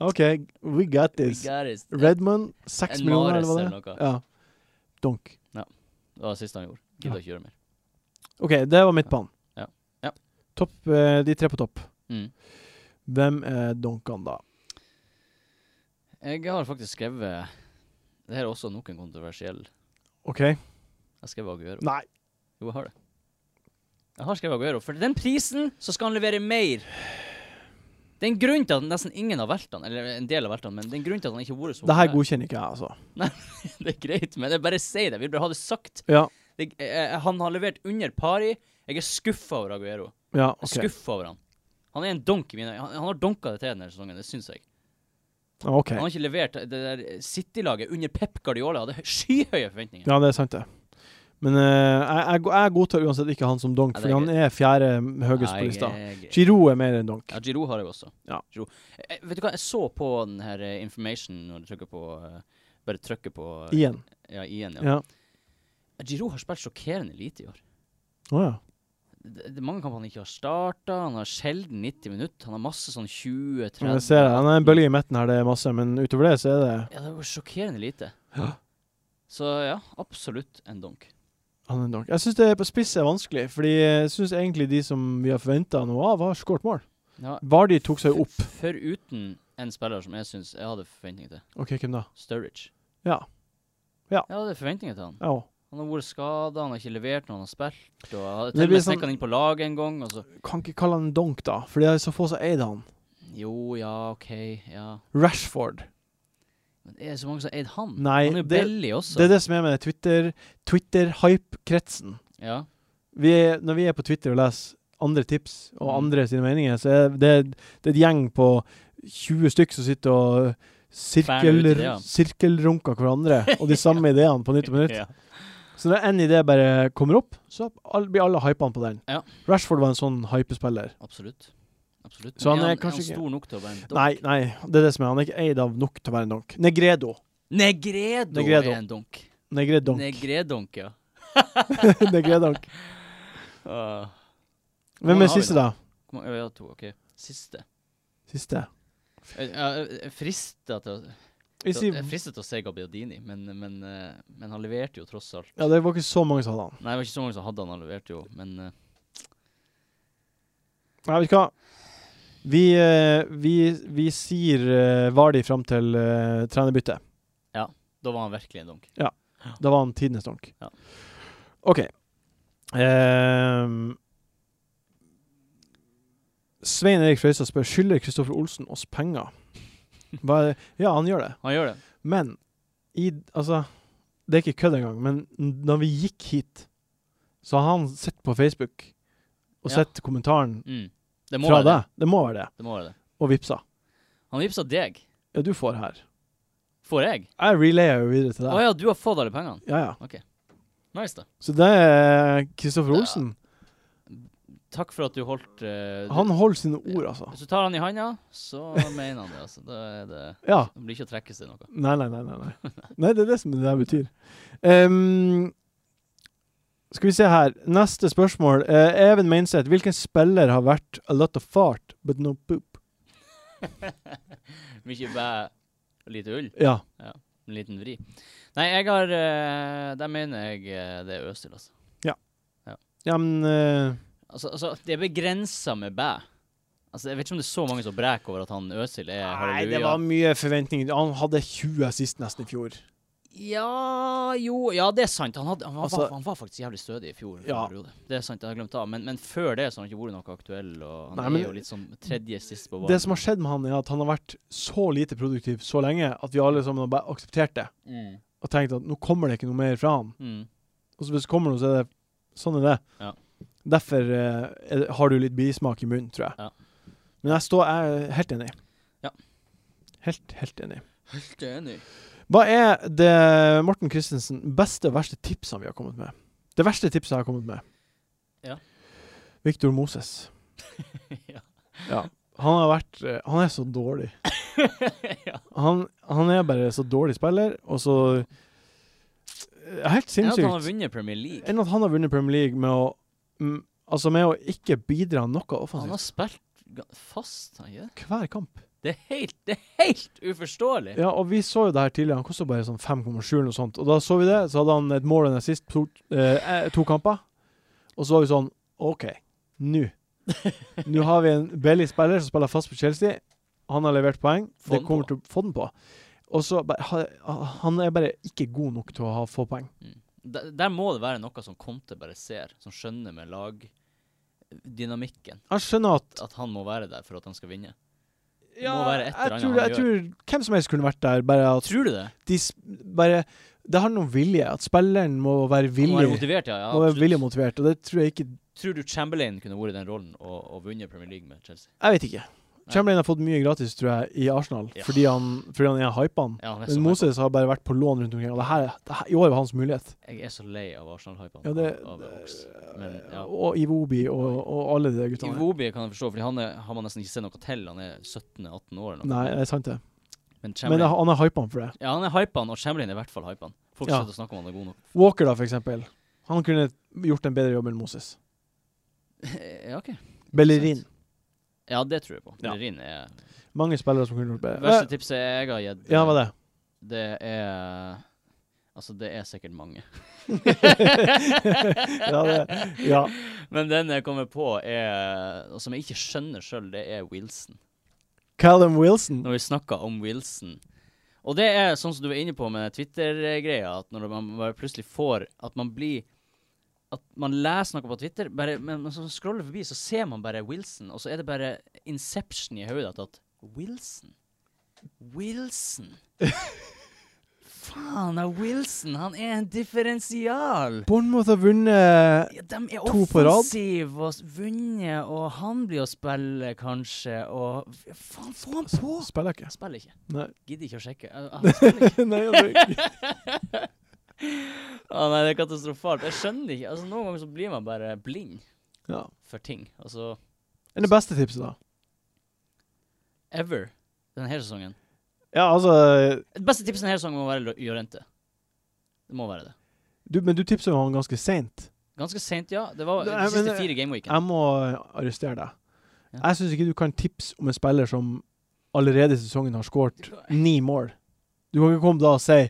OK, we got this. Gareth. Redman, seks En millioner, Mahrez eller hva det eller noe. er? Ja. Donk. Det var det siste han gjorde. Gidder ikke gjøre mer. OK, det var midtbanen. Ja. Ja. Topp, eh, de tre på topp. Mm. Hvem er donkene da? Jeg har faktisk skrevet Det her er også nok en kontroversiell Jeg OK? har skrevet Aguero. Nei. Jo, jeg har det. Jeg har skrevet Aguero. For den prisen, så skal han levere mer. Det er en grunn til at nesten ingen har valgt han, eller en del har valgt han, men det er en grunn til at han ikke har vært så Det her populær. godkjenner ikke jeg, altså. *laughs* Det er greit, men jeg bare sier det. Vi burde ha det sagt. Ja. Det, eh, eh, han har levert under pari. Jeg er skuffa over Aguero. Ja, Jeg er ok. Skuffa over han. Han er en donk i mine øyne. Han, han har donka det til denne sesongen, det syns jeg. Ja, ok. Han har ikke levert det der City-laget under Pep Guardiola. Hadde skyhøye forventninger. Ja, det er sant, det. Men eh, jeg, jeg, jeg godtar uansett ikke han som donk, Ja, det fordi er han er fjerde høyest på Nei, lista. jeg- jeg- Giro er mer enn donk. Ja, Giro har jeg også. Ja. Giroud. Eh, vet du hva, jeg så på den her eh, information når du trykker på eh, Bare trykker på eh, Igjen. Ja, igjen, ja. Ja. Giro har spilt sjokkerende lite i år. Å ja. Det, det er mange kamper han ikke har starta. Han har sjelden 90 minutter. Han har masse sånn 20-30 Jeg ser det. Han er en bølge i midten her, det er masse, men utover det så er det Ja, det var sjokkerende lite. Ja. Så ja, absolutt en donk. han er en donk. Jeg syns det på spiss er vanskelig, fordi jeg syns egentlig de som vi har forventa noe av, har skåret mål. Ja, Vardi tok seg opp. Foruten en spiller som jeg syns jeg hadde forventninger til. OK, hvem da? Sturridge. Ja. Jeg hadde forventninger til han. Ja. Han har vært skada, han har ikke levert når han har spilt. Og jeg hadde Det til og blir sånn- med snekka han inn på laget en gang. Og så. Kan ikke kalle han en donk, da, for det er så få som eide han. Jo, ja, OK, ja. Rashford. Men det er så mange som har eid han. Nei, han er jo det- billig også. Det er det som er med det Twitter- Twitter-hype-kretsen. ja. vi er, når vi er på Twitter og leser andre tips og Mm. andre sine meninger, så er det, det er et gjeng på 20 stykk som sitter og Ferner sirkel, ut i det, ja. sirkelrunker hverandre og de samme ideene på nytt og på nytt. Så når én idé bare kommer opp, så all, blir alle hypene på den. Ja. Rashford var en sånn hypespiller. Absolutt. Absolutt. Så han er er kanskje ikke- stor nok til å være en donk? Nei, nei, det er det som er. Han er ikke eid av nok til å være en donk. Negredo. Negredo, Negredo. er en donk. *laughs* Negredonk. Negredonk, ja. Negredonk. Ah, Hvem mange er har vi siste, da? hvor mange- ja, to, ok. Siste. Siste. Jeg, jeg, jeg frister til å Jeg Så sier, Jeg fristet til å se Gabbiadini, men, men, eh, men han leverte jo tross alt. ja, det var ikke så mange som hadde han. Nei, det var ikke så mange som hadde han, han leverte jo, men eh, Nei, vet du hva? Vi, eh, vi, vi sier eh, Vardi fram til eh, trenerbyttet. da var han virkelig en dunk. Da var han tidenes donk. Ja. OK. Ehm, Svein Erik Frøysa spør skylder Kristoffer Olsen oss penger. Hva er det? Ja, han gjør det. Han gjør det. Men i Altså, det er ikke kødd engang, men n- da vi gikk hit, så har han sett på Facebook og Ja. sett kommentaren Mm. Det må fra være det. deg. Det må være det. det må være det. Og vippsa. Han vippsa deg. Ja, du får her. Får jeg? Jeg relayer jo videre til Å deg. ja, du har fått alle pengene. Ja, ja. Nice, da. Så det er Kristoffer Olsen. Takk for at du holdt eh, du- Han holder sine ord, altså. Hvis du tar han i handa, så mener han det, altså. Da er det Ja. Det blir ikke å trekke seg noe. *laughs* Nei, nei, nei. Nei, nei. nei det er det som det her betyr. Ehm, skal vi se her. Neste spørsmål. Eh, Even Meinseth, hvilken spiller har vært a lot of fart, but no poop? Mye bæ og lite ull. Ja. En liten vri. Nei, jeg har eh, Der mener jeg eh, det er Øsil, altså. Ja, men eh, Altså, altså det er begrensa med bæ. Altså, jeg vet ikke om det er så mange som breker over at han Øsil er Nei, halleluja. det var mye forventninger. Han hadde 20 sist nesten i fjor. Ja, jo Ja, det er sant. Han, hadde, han, var, Altså- han var faktisk jævlig stødig i fjor. Ja. periode. Det er sant, jeg har glemt av. Men, men før det så har han ikke vært noe aktuell. Og han Nei, men- er jo litt sånn tredje sist på ballen. Det som har skjedd med han, er at han har vært så lite produktiv så lenge at vi alle sammen har bare akseptert det mm. og tenkt at nå kommer det ikke noe mer fra han. Mm. Og så hvis det kommer noe, så er det sånn er det. Ja. Derfor eh, er det- har du litt bismak i munnen, tror jeg. Ja. Men jeg, står, jeg er helt enig. Ja. Helt, helt enig. Helt enig. Hva er det, Morten Christensen, beste og verste tipsene vi har kommet med? Det verste tipset jeg har kommet med. Ja. Victor Moses. *laughs* ja. Ja. Han har vært eh, Han er så dårlig. *laughs* ja. Han, han er bare så dårlig spiller, og så eh, Helt Det er at han har sinnssykt. vunnet Premier League. Enn at han har vunnet Premier League med å mm, Altså med å ikke bidra noe Han offensivt. har spilt ga- fast, har han ikke det? Hver kamp. Det er helt, det er helt uforståelig. Ja, og vi så jo det her tidligere. Han kosta bare sånn 5,7 eller noe sånt. Og da så vi det, så hadde han et mål og en assist to, eh, eh, to kamper. Og så var vi sånn OK, nå. *laughs* Nå har vi en billig spiller som spiller fast på Chelsea. Han har levert poeng. Få Det den kommer på. til å få den på. Og så bare- ha- Han er bare ikke god nok til å ha få poeng. Der, der må det være noe som Conte bare ser, som skjønner med lagdynamikken. Jeg skjønner at At han må være der for at han skal vinne. Det ja, må være et eller jeg, annet tror, han jeg tror hvem som helst kunne vært der, bare at Tror du det? de s- bare Det handler om vilje. At spilleren må være Han må være villig. motivert, ja. ja Må være absolutt. villig og motivert, og det tror jeg ikke Tror du Chamberlain kunne vært i den rollen og, og vunnet Premier League med Chelsea? Jeg vet ikke. Chamberlain har fått mye gratis, tror jeg, i Arsenal, Ja. fordi, han, fordi han er hypene. Ja, han er så Men Moses har bare vært på lån rundt omkring, og det her, det her, i år er hans mulighet. hypet. Jeg er så lei av Arsenal-hypen. Ja, det, av, av Ox. Men, ja. Og Iwobi og, og alle de guttene. Iwobi kan jeg forstå, for han er, har man nesten ikke sett noe til. Han er 17-18 år eller noe. Nei, det er sant, det. Men Men Chamberlain han er hypene for det. Ja, han er hypene, og Chamberlain er i hvert fall hypene. Folk Ja. sitter og snakker om han er god nok. Walker, da, for eksempel. Han kunne gjort en bedre jobb enn Moses. *laughs* ja, OK. Bellerin. Ja, det tror jeg på. Ja. Bellerin er Mange spillere som kunne gjort bedre. Verste tipset jeg har gitt, Eh, ja, hva er det? det er Altså, det er sikkert mange. *laughs* Ja, det ja. Men den jeg kommer på, er, og som jeg ikke skjønner sjøl, det er Wilson. Callum Wilson. Når vi snakker om Wilson. Og det er sånn som du var inne på med Twitter-greia, at når man bare plutselig får At man blir At man leser noe på Twitter, bare, men når man scroller forbi, så ser man bare Wilson, og så er det bare inception i hodet at Wilson *laughs* Wilson Faen, han Wilson, han er en differensial! Bournemouth har vunnet Ja, de er To på rad. offensive og s- vunnet, og han blir å spille, kanskje, og f- Faen, få han på! Spiller ikke. Spiller ikke. *laughs* Nei. Gidder ikke å sjekke. Jeg- jeg- han spiller ikke. Nei, altså, Å nei, det er katastrofalt. Jeg skjønner ikke. Altså, Noen ganger så blir man bare blind *laughs* ja. for ting. Altså, Enn det beste tipset, da? ever denne her sesongen. Ja, altså Det beste tipset denne her sesongen må være Lo- Llorente. Det må være det. Du, men du tipsa jo han ganske seint. Ganske seint, ja. Det var Nei, de siste men, fire gameweekene. Jeg må eh, arrestere deg. Ja. Jeg syns ikke du kan tipse om en spiller som allerede i sesongen har skåret ni mål. Du kan ikke komme da og si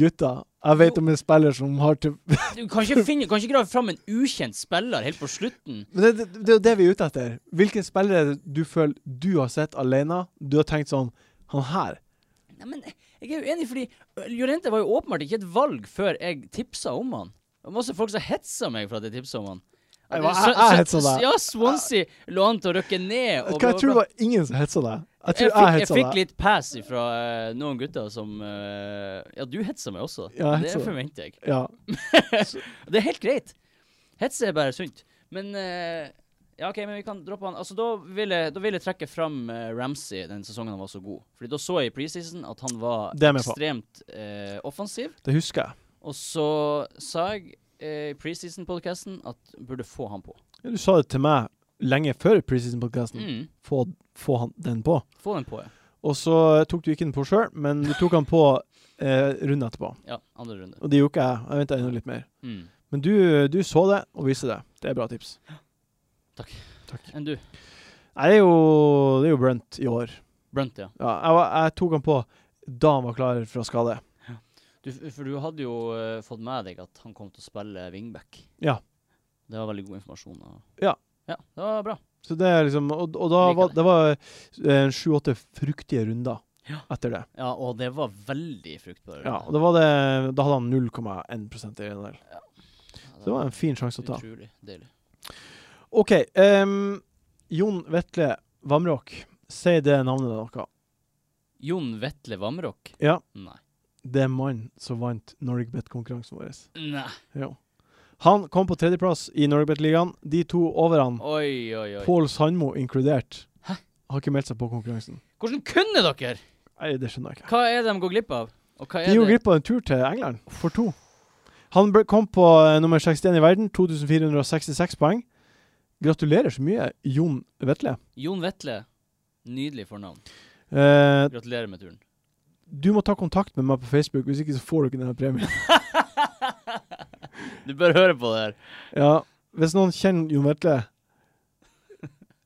Gutta, jeg vet om en spiller som har til *laughs* Du kan ikke, finne, kan ikke grave fram en ukjent spiller helt på slutten. Men det, det, det er jo det vi er ute etter. Hvilken spiller er det du føler du har sett alene? Du har tenkt sånn Han her. Nei, men jeg er jo enig, fordi Jorente var jo åpenbart ikke et valg før jeg tipsa om han. Det var masse folk som hetsa meg for at jeg tipsa om han. Jeg var- jeg- jeg hetsa deg. Ja, Swansea lå an til å rykke ned. og Hva, jeg tror bla, det bla, bla. var ingen som hetsa deg. Jeg Jeg tror fikk, jeg jeg hetsa fikk deg. litt pass fra noen gutter som eh, Ja, du hetsa meg også. Ja, jeg det hetsa deg. forventer jeg. Ja. Og Det er helt greit. Hetse er bare sunt. Men eh, Ja, OK, men vi kan droppe han. Altså, Da vil jeg, da vil jeg trekke fram eh, Ramsey den sesongen han var så god. Fordi da så jeg i preseason at han var Det er jeg med på. ekstremt eh, offensiv. Det husker jeg. Og så sa jeg eh, i preseason-podkasten at jeg burde få han på. Ja, Du sa det til meg lenge før preseason-podkasten. Mm. Få, få han den på. Få den på, ja. Og så tok du ikke den på sjøl, men du tok han på eh, runden etterpå. ja andre runde. Og det gjorde ikke jeg. Jeg venta enda litt mer. Mm. Men du, du så det og viste det. Det er bra tips. Enn du? Nei, det er jo, det er jo Brunt i år. Brunt, ja. Ja, jeg, var- jeg tok han på da han var klar fra skade. Du, for du hadde jo eh, fått med deg at han kom til å spille wingback. Ja. Det var veldig god informasjon. Og... Ja. ja. Det var bra. Så det er liksom Og, og da Liker var det var eh, sju-åtte fruktige runder Ja. etter det. Ja, og det var veldig fruktbar. Ja, og da, var det, da hadde han 0,1 i en del. Så det var en fin sjanse å ta. Utrolig deilig. OK. ehm, Jon Vetle Vamråk. Si det navnet noe. Jon Vetle Vamrok? Ja. Nei. Det er mannen som vant Norwegbet-konkurransen vår. Nei. Jo. Han kom på tredjeplass i Norwegbet-ligaen. De to over han, Oi, oi, oi. Pål Sandmo inkludert, har ikke meldt seg på konkurransen. Hvordan kunne dere? Nei, det skjønner jeg ikke. Hva er det de går glipp av? Og hva De er gjorde det? glipp av en tur til England for to. Han ble, kom på eh, nummer 61 i verden, 2466 poeng. Gratulerer så mye, Jon Vetle. Jon Vetle. Nydelig fornavn. Eh, Gratulerer med turen. *laughs* du må ta kontakt med meg på Facebook, hvis ikke så får du ikke denne premien. Du bør høre på det her. ja, hvis noen kjenner Jon Vetle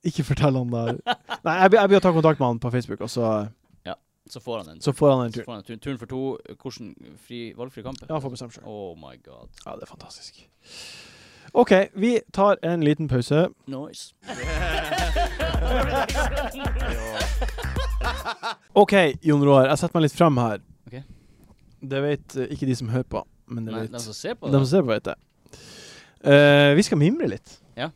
Ikke fortell han *laughs* det. Nei, jeg, be- jeg begynner å ta kontakt med han på Facebook, og så, Så får han en så får han en Så tur. får han en tur. Turen for to. Hvordan fri, valgfri kamp? Ja, han får bestemme sjøl. Oh my god. Ja, det er fantastisk. OK, vi tar en liten pause. *laughs* Nice. OK, Jon Roar, jeg setter meg litt frem her. Ok. Det vet eh, ikke de som hører på, men det Nei, vet de som ser på de det. som ser på, vet det. Eh, vi skal mimre litt. Ja.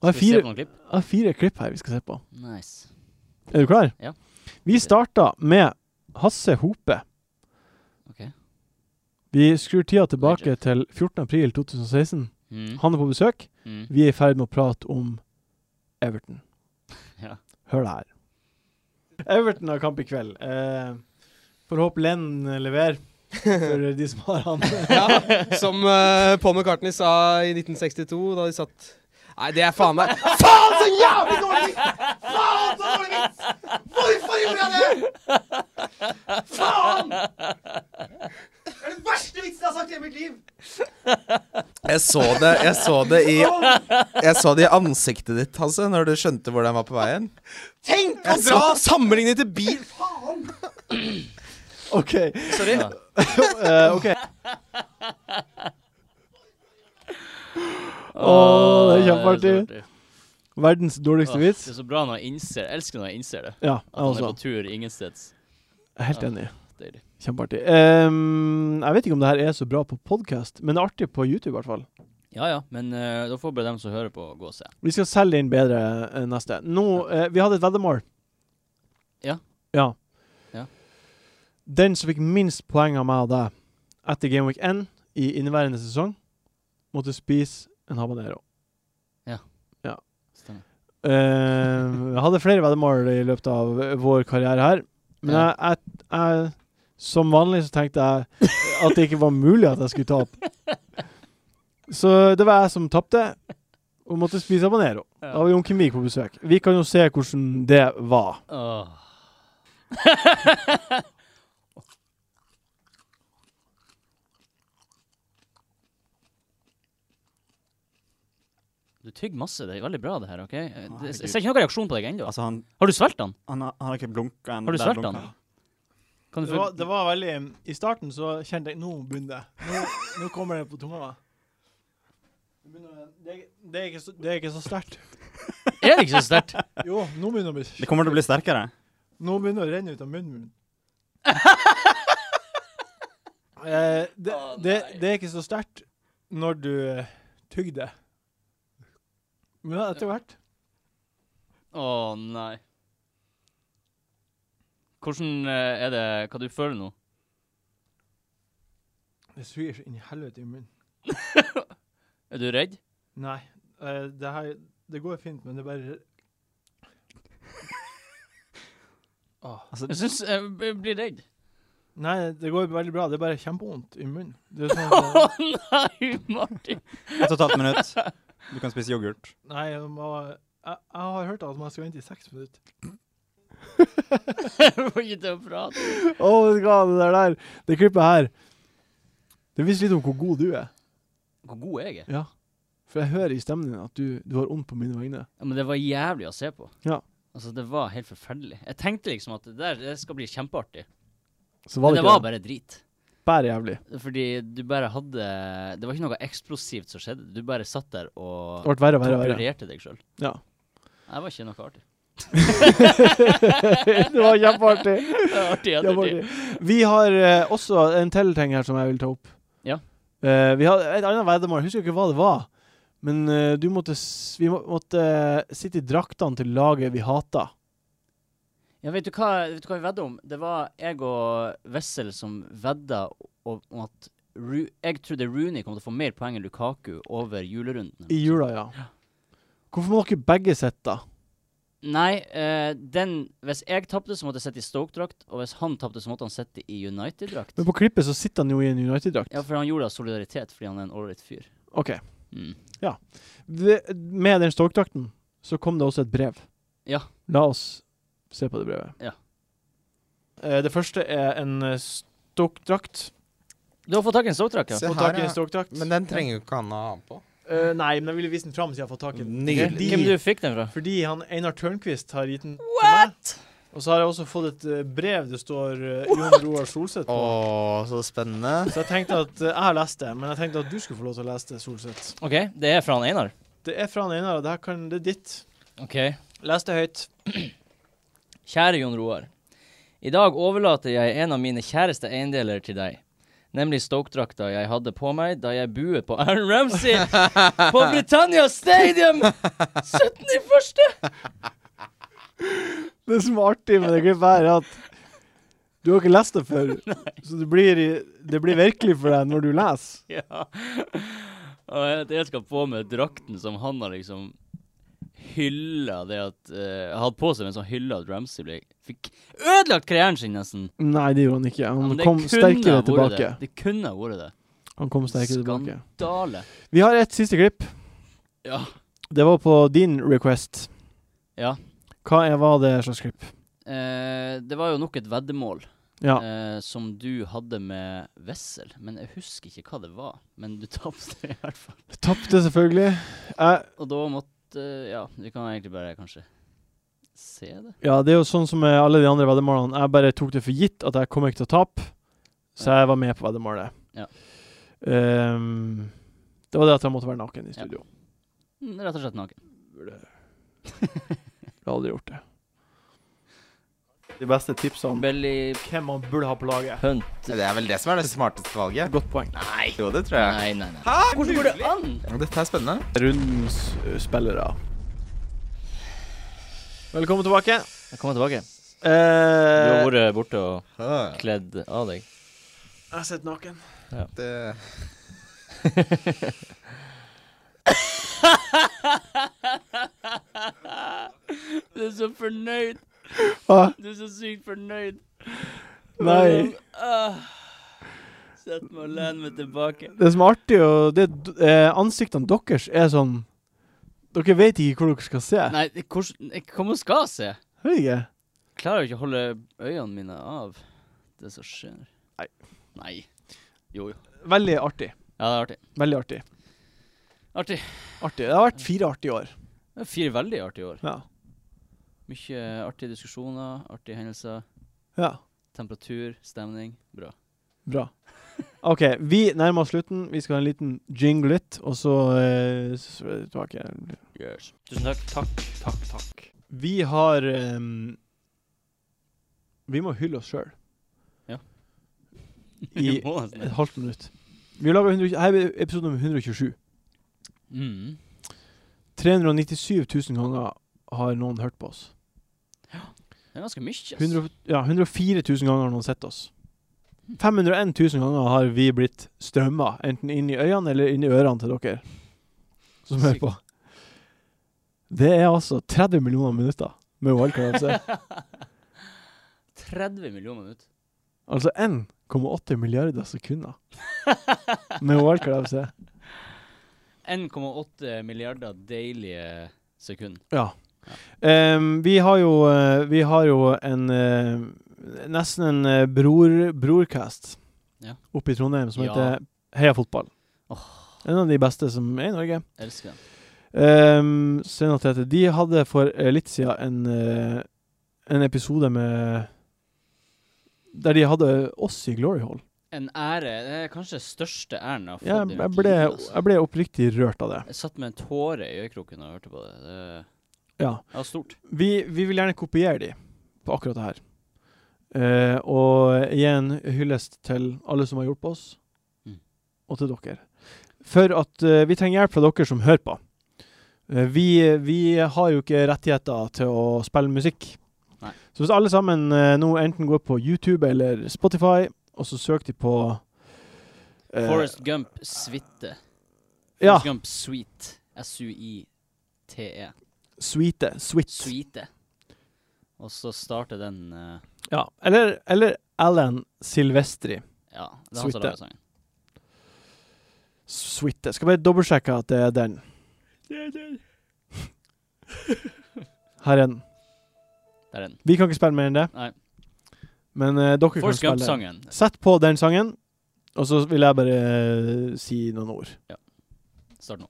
Og Jeg har Skal vi se på fire, noen klipp? jeg har fire klipp her vi skal se på. Nice. Er du klar? Ja. Vi starta med Hasse Hope. Ok. Vi skrur tida tilbake til 14.4.2016. Mm. Han er på besøk. Mm. Vi er i ferd med å prate om Everton. *laughs* Ja. Hør det her. Everton har kamp i kveld. Eh, Får håpe Lenn leverer for de som har *laughs* han. *laughs* Ja, som eh, Paul McCartney sa i 1962, da de satt Nei, det er faen meg Faen så jævlig dårlig vits! Faen så dårlig vits! Hvorfor gjorde jeg det? Faen! Det er den verste vitsen jeg har sagt i hele mitt liv. Jeg så det, jeg så det i Jeg så det i ansiktet ditt, Hasse, når du skjønte hvor den var på veien. Tenk *laughs* å dra sammenligning til bil. OK. Sorry. Eh, *laughs* ok. Å, det er kjempeartig. Verdens dårligste vits. Det er så bra når jeg innser Jeg elsker når jeg innser det. Ja, altså. jeg At han også. er på tur ingensteds. Jeg er helt Ja. enig. Deilig. Kjempeartig. Ehm, jeg vet ikke om det her er så bra på podkast, men det er artig på YouTube i hvert fall. Ja ja, men eh, da får bare dem som hører på, gå og se. Vi skal selge inn bedre eh, neste. Nå, eh, Vi hadde et veddemål. Ja. Ja. Ja. Den som fikk minst poeng av meg og deg etter Game Week 1 i inneværende sesong, måtte spise en habanero. Stemmer. Eh, jeg hadde flere veddemål i løpet av eh, vår karriere her, men Ja. jeg, jeg, jeg Som vanlig så tenkte jeg at det ikke var mulig at jeg skulle tape. Så det var jeg som tapte, og måtte spise habanero. Da var Jon Kemik på besøk. Vi kan jo se hvordan det var. Åh. Du tygger masse. Det er veldig bra, det her. ok? Eh, Å, det- Jeg herregud. ser ikke noen reaksjon på deg ennå. Altså, han, Har du svelget den? han har, han har ikke blunka ennå. Har du Der svelget blunker den? Kan du Det var, få det var veldig I starten så kjente jeg Nå begynner det. Nå, nå kommer det på tunga. Det begynner- Det, er- det, er ikke så- det er ikke så sterkt. Er det ikke så sterkt? Jo, nå begynner det å bli Det kommer til å bli sterkere. Nå begynner det å renne ut av munnen *laughs* min. eh, det, Å, det, nei. det er ikke så sterkt når du eh, tygger det. Men ja, etter hvert Å nei. Hvordan eh, er det Hva du føler nå? Det suger så inn i helvete i munnen. Er du redd? Nei, eh, det her Det går fint, men det *laughs* bare Åh. Jeg syns jeg b- blir redd. Nei, det går veldig bra. Det er bare kjempevondt i munnen. Det er *laughs* sånn, *laughs* Å at- nei, Martin. Ett og et halvt minutt. Du kan spise yoghurt. nei, jeg, må, jeg, jeg har hørt at man skal vente i seks minutter. *laughs* Jeg får ikke til å prate. Oh my god, det der der. Det klippet her. Det viser litt om hvor god du er. Hvor god jeg er. Ja. For jeg hører i stemmen din at du, du har vondt på mine vegne. Ja, men det var jævlig å se på. Ja. Altså, det var helt forferdelig. Jeg tenkte liksom at det der det skal bli kjempeartig. Så var men det, det ikke var det. bare drit. Bare jævlig. Fordi du bare hadde Det var ikke noe eksplosivt som skjedde. Du bare satt der og Det ble verre og verre. og verre. torturerte deg sjøl. Ja. Det var ikke noe artig. *laughs* det var kjempeartig. *laughs* Det var artig i ettertid. Kjempeartig. Vi har eh, også en til ting her som jeg vil ta opp. Ja. Eh, vi hadde et annet veddemål. Jeg husker ikke hva det var. Men eh, du måtte, s- vi må, måtte eh, sitte i draktene til laget vi hata. Ja, vet du hva, vet du hva vi vedda om? Det var jeg og Wessel som vedda om om at Ru jeg trodde Rooney kom til å få mer poeng enn Lukaku over julerunden. I jula, ja. Hvorfor må dere begge sitte? Nei, eh, den Hvis jeg tapte, så måtte jeg sitte i Stoke-drakt. Og hvis han tapte, så måtte han sitte i United-drakt. Men på klippet så sitter han jo i en United-drakt. Ja, for han gjorde det av solidaritet, fordi han er en ålreit fyr. OK. Mm. Det, med den Stoke-drakten så kom det også et brev. Ja. La oss se på det brevet. Ja. Eh, det første er en eh, Stoke-drakt. Du har fått tak i en Stoke-drakt, Se ja. Få her, tak i ja. en Stoke-drakt. Men den trenger jo ikke han å ha på. Eh, nei, men jeg ville vise den fram siden jeg har fått tak i den. Nydelig. Fordi- Hvem du fikk den fra? Fordi han Einar Tørnquist har gitt den What? til meg. Og så har jeg også fått et eh, brev det står eh, Jon Roar Solseth på. Å, så spennende. Så jeg tenkte at eh, jeg har lest det, men jeg tenkte at du skulle få lov til å lese det, Solseth. OK, det er fra han Einar. Det er fra han Einar, og det, her kan, det er ditt. OK. Les det høyt. Kjære Jon Roar. I dag overlater jeg en av mine kjæreste eiendeler til deg. Nemlig Stoke-drakta jeg hadde på meg da jeg buet på Aaron Ramsey *laughs* på Britannia Stadium 17.1. Det som er artig med det klippet her, er at du har ikke lest det *laughs* før. Så det blir, i- det blir virkelig for deg når du leser. *laughs* Ja. Og at jeg skal på med drakten som han har liksom hylla det at eh, Hadde på seg mens han hylla at Ramsey ble Fikk ødelagt karrieren sin, nesten. Nei, det gjorde han ikke. Ja, Han men det kom kunne sterkere ha vært tilbake. Det. det kunne ha vært det. Han kom sterkere tilbake. Dale. Vi har et siste klipp. Ja. Det var på din request. Ja. Hva er, var det slags klipp? Eh, det var jo nok et veddemål Ja. eh, som du hadde med Wessel, men jeg husker ikke hva det var. Men du tapte i hvert fall. Tapte, selvfølgelig. Jeg, Og da måtte eh, Ja, vi kan egentlig bare kanskje se det. ja, det er jo sånn som med alle de andre veddemålene. Jeg bare tok det for gitt at jeg kom ikke til å tape, så jeg var med på veddemålet. Ja. Ehm, det var det at jeg måtte være naken i Ja. studio. Mm, Rett og slett naken. Jeg har aldri gjort det. De beste tipsene Belly hvem man burde ha på laget. punt. Det er vel det som er det smarteste valget. Godt poeng. Nei. Jo, det tror jeg. Nei, nei, nei. Hvordan går det an? Dette er spennende. Rundens ø, eh, spillere. Velkommen tilbake. Kom tilbake. Du Eh, har vært borte og Ah, kledd av deg. jeg har sett naken. Det *laughs* Du er så fornøyd. Hva? Du er så sykt fornøyd. Nei. Ah. Sett meg og len meg tilbake. Det som er artig, og det eh, ansiktene deres er sånn Dere vet ikke hvor dere skal se. Nei, det- hvordan jeg- Hva man skal se? Hører ikke? Klarer jo ikke å holde øynene mine av det som skjer. Nei. Nei. Jo, jo. Veldig artig. Ja, det er artig. Veldig artig. Artig. Artig. Det har vært fire artige år. Det er Fire veldig artige år. Ja. Mye artige diskusjoner, artige hendelser. ja. Temperatur, stemning. Bra. Bra. OK, vi nærmer oss slutten. Vi skal ha en liten jinglet, og så eh, s- tilbake. Yes. Tusen takk. Takk, takk, takk. Vi har ehm, Vi må hylle oss sjøl. Ja. I Vi *laughs* må nesten *laughs* det. et halvt minutt. Vi lager 100, her er episode nummer 127. Mm. 397 000 ganger har noen hørt på oss. Det er ganske mye. ass. 100, ja, 104 000 ganger har noen sett oss. 501 000 ganger har vi blitt strømma, enten inn i øynene eller inn i ørene til dere som hører på. Det er altså 30 millioner minutter med Wildcard *laughs* FC. 30 millioner minutter. Altså 1,8 milliarder sekunder med *laughs* Wildcard FC. 1,8 milliarder deilige sekunder. Ja. Ehm, vi har jo eh, Vi har jo en eh, Nesten en eh, bror, brorcast Ja. oppe i Trondheim som Ja. heter Heia fotball. En av de beste som er i Norge. Elsker den. Ehm, Steinar og Tete, de hadde for eh, litt siden en, eh, en episode med Der de hadde oss i Glory Hall. En ære. Det er kanskje den største æren jeg har fått. i Jeg, mitt jeg, ble, liv, altså. jeg ble oppriktig rørt av det. Jeg satt med en tåre i øyekroken og hørte på det. Det Ja. det var stort. Vi, vi vil gjerne kopiere de på akkurat det her. Eh, og gi en hyllest til alle som har hjulpet oss, Mm. og til dere. For at eh, vi trenger hjelp fra dere som hører på. Eh, vi, vi har jo ikke rettigheter til å spille musikk. Nei. Så hvis alle sammen eh, nå enten går på YouTube eller Spotify, og så søker de på eh, Forest Gump suite. Ja. Forrest Gump Suite. S-U-I-T-E. Suite. Switch. E. Suite. Og så starter den eh, Ja. Eller, eller Alan Silvestri. Ja, det er han som Suite. lager sangen. Suite. Skal bare dobbeltsjekke at det er den. *laughs* Her er den. Der er den. Vi kan ikke spille mer enn det, Nei. men eh, dere kan Forrest spille. den. Gump-sangen. Sett på den sangen, og så vil jeg bare eh, si noen ord. Start nå.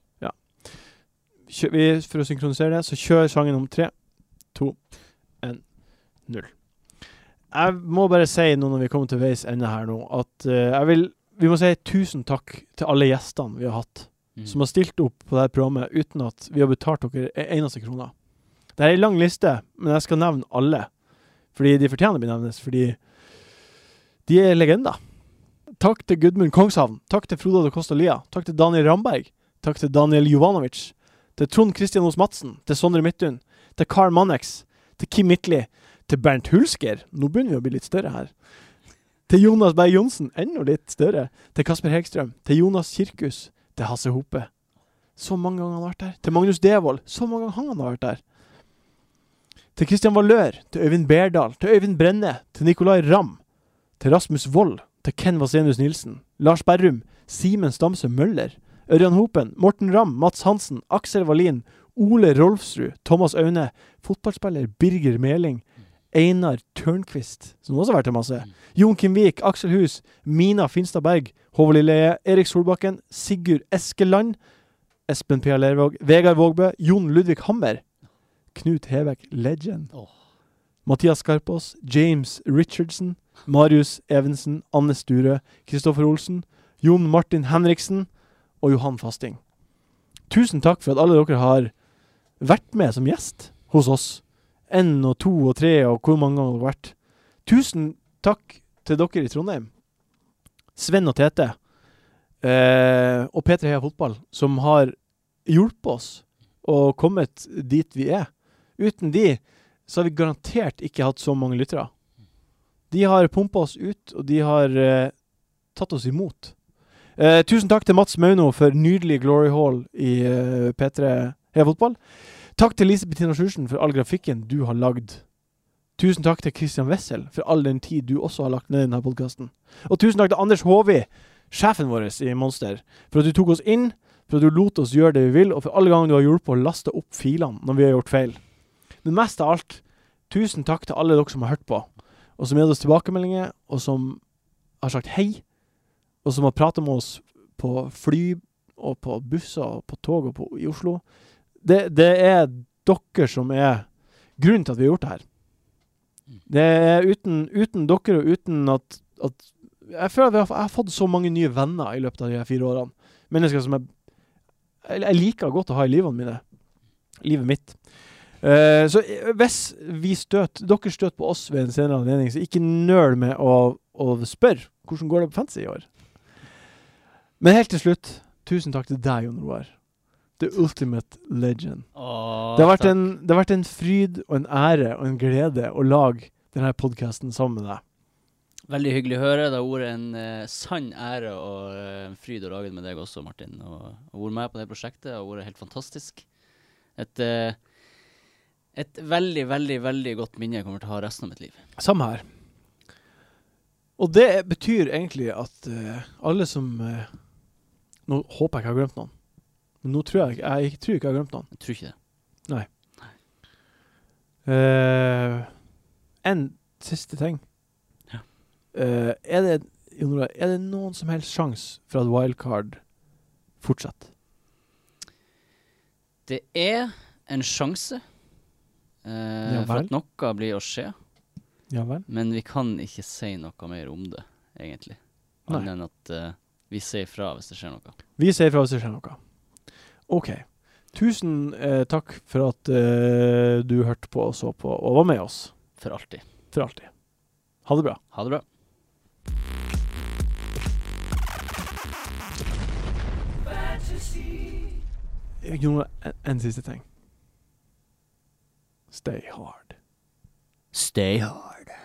Kjø vi, for å synkronisere det, så kjør sangen om tre, to, én, null. Jeg må bare si nå når vi kommer til veis ende her nå, at eh, jeg vil Vi må si tusen takk til alle gjestene vi har hatt. Mm. som har stilt opp på dette programmet uten at vi har betalt dere en eneste krone. Det er en lang liste, men jeg skal nevne alle. Fordi de fortjener å bli nevnes, fordi de er legender. Takk til Gudmund Kongshavn. Takk til Frode de Costa Lia. Takk til Daniel Ramberg. Takk til Daniel Jovanovic. Til Trond Kristian Os Madsen. Til Sondre Midthun. Til Carl Mannex. Til Kim Midtli. Til Bernt Hulsker. Nå begynner vi å bli litt større her. Til Jonas Berg Johnsen. Enda litt større. Til Kasper Hegstrøm. Til Jonas Kirkus til Hasse Hope. Så mange ganger han har vært der. Til Magnus Devold. Så mange ganger han har vært der. Til Christian Valør. Til Øyvind Berdal. Til Øyvind Brenne. Til Nicolai Ramm. Til Rasmus Wold. Til Ken Vasenius Nilsen. Lars Berrum. Simen Stamse Møller. Ørjan Hopen. Morten Ramm. Mats Hansen. Aksel Wallin. Ole Rolfsrud. Thomas Aune. Fotballspiller Birger Meling. Einar Tørnquist, som også har vært der masse. Jon Kim Vik, Aksel Hus, Mina Finstad Berg, Håvard Lilleheie, Erik Solbakken, Sigurd Eskeland, Espen Pia Lervåg, Vegard Vågbø, Jon Ludvig Hammer, Knut Hebekk, legend. Åh. Mathias Skarpaas, James Richardson, Marius Evensen, Anne Sturø, Kristoffer Olsen, Jon Martin Henriksen og Johan Fasting. Tusen takk for at alle dere har vært med som gjest hos oss. Én og to og tre og hvor mange ganger det har vært. Tusen takk til dere i Trondheim. Sven og Tete eh, og P3 Heia Fotball, som har hjulpet oss og kommet dit vi er. Uten de så har vi garantert ikke hatt så mange lyttere. De har pumpa oss ut, og de har eh, tatt oss imot. Eh, tusen takk til Mats Mauno for nydelig Glory Hall i eh, P3 Heia Fotball. Takk til Lise Bettina Sjursen for all grafikken du har lagd. Tusen takk til Christian Wessel for all den tid du også har lagt ned i denne podkasten. Og tusen takk til Anders Håvi, sjefen vår i Monster, for at du tok oss inn, for at du lot oss gjøre det vi vil, og for alle ganger du har hjulpet å laste opp filene når vi har gjort feil. Men mest av alt, tusen takk til alle dere som har hørt på, og som har gitt oss tilbakemeldinger, og som har sagt hei, og som har pratet med oss på fly og på busser og på tog og på, i Oslo. Det, det er dere som er grunnen til at vi har gjort det her. Det er uten, uten dere og uten at, at Jeg føler at jeg har, jeg har fått så mange nye venner i løpet av de her fire årene. Mennesker som jeg, jeg, jeg liker godt å ha i livene mine. Livet mitt. Eh, så eh, hvis vi støt, dere støter på oss ved en senere anledning, så ikke nøl med å, å spørre hvordan går det på fancy i år. Men helt til slutt, tusen takk til deg, Jon Roar. The ultimate legend. Mm. Åh, Det har, vært takk. en, det har vært en fryd og en ære og en glede å lage denne podkasten sammen med deg. Veldig hyggelig å høre. Det har vært en eh, sann ære og eh, en fryd å lage det med deg også, Martin. Og å være med på det prosjektet har vært helt fantastisk. Et, eh, et veldig, veldig veldig godt minne jeg kommer til å ha resten av mitt liv. Samme her. Og det betyr egentlig at eh, alle som eh, Nå håper jeg ikke jeg har glemt noen. Men nå tror jeg, ikke- jeg tror ikke jeg har glemt noen. Jeg tror ikke det. Eh, en siste ting. Ja. Eh, er, det, Jon Olav, er det noen som helst sjanse for at wildcard fortsetter? Det er en sjanse eh, Ja for vel. at noe blir å skje, Ja vel? men vi kan ikke si noe mer om det, egentlig. Nei. Annet enn at eh, vi sier fra hvis det skjer noe. Vi sier fra hvis det skjer noe. OK. Tusen eh, takk for at eh, du hørte på og så på og var med oss For alltid. for alltid. Ha det bra. Ha det bra. Jon Olav, en, en siste ting. Stay hard. Stay hard.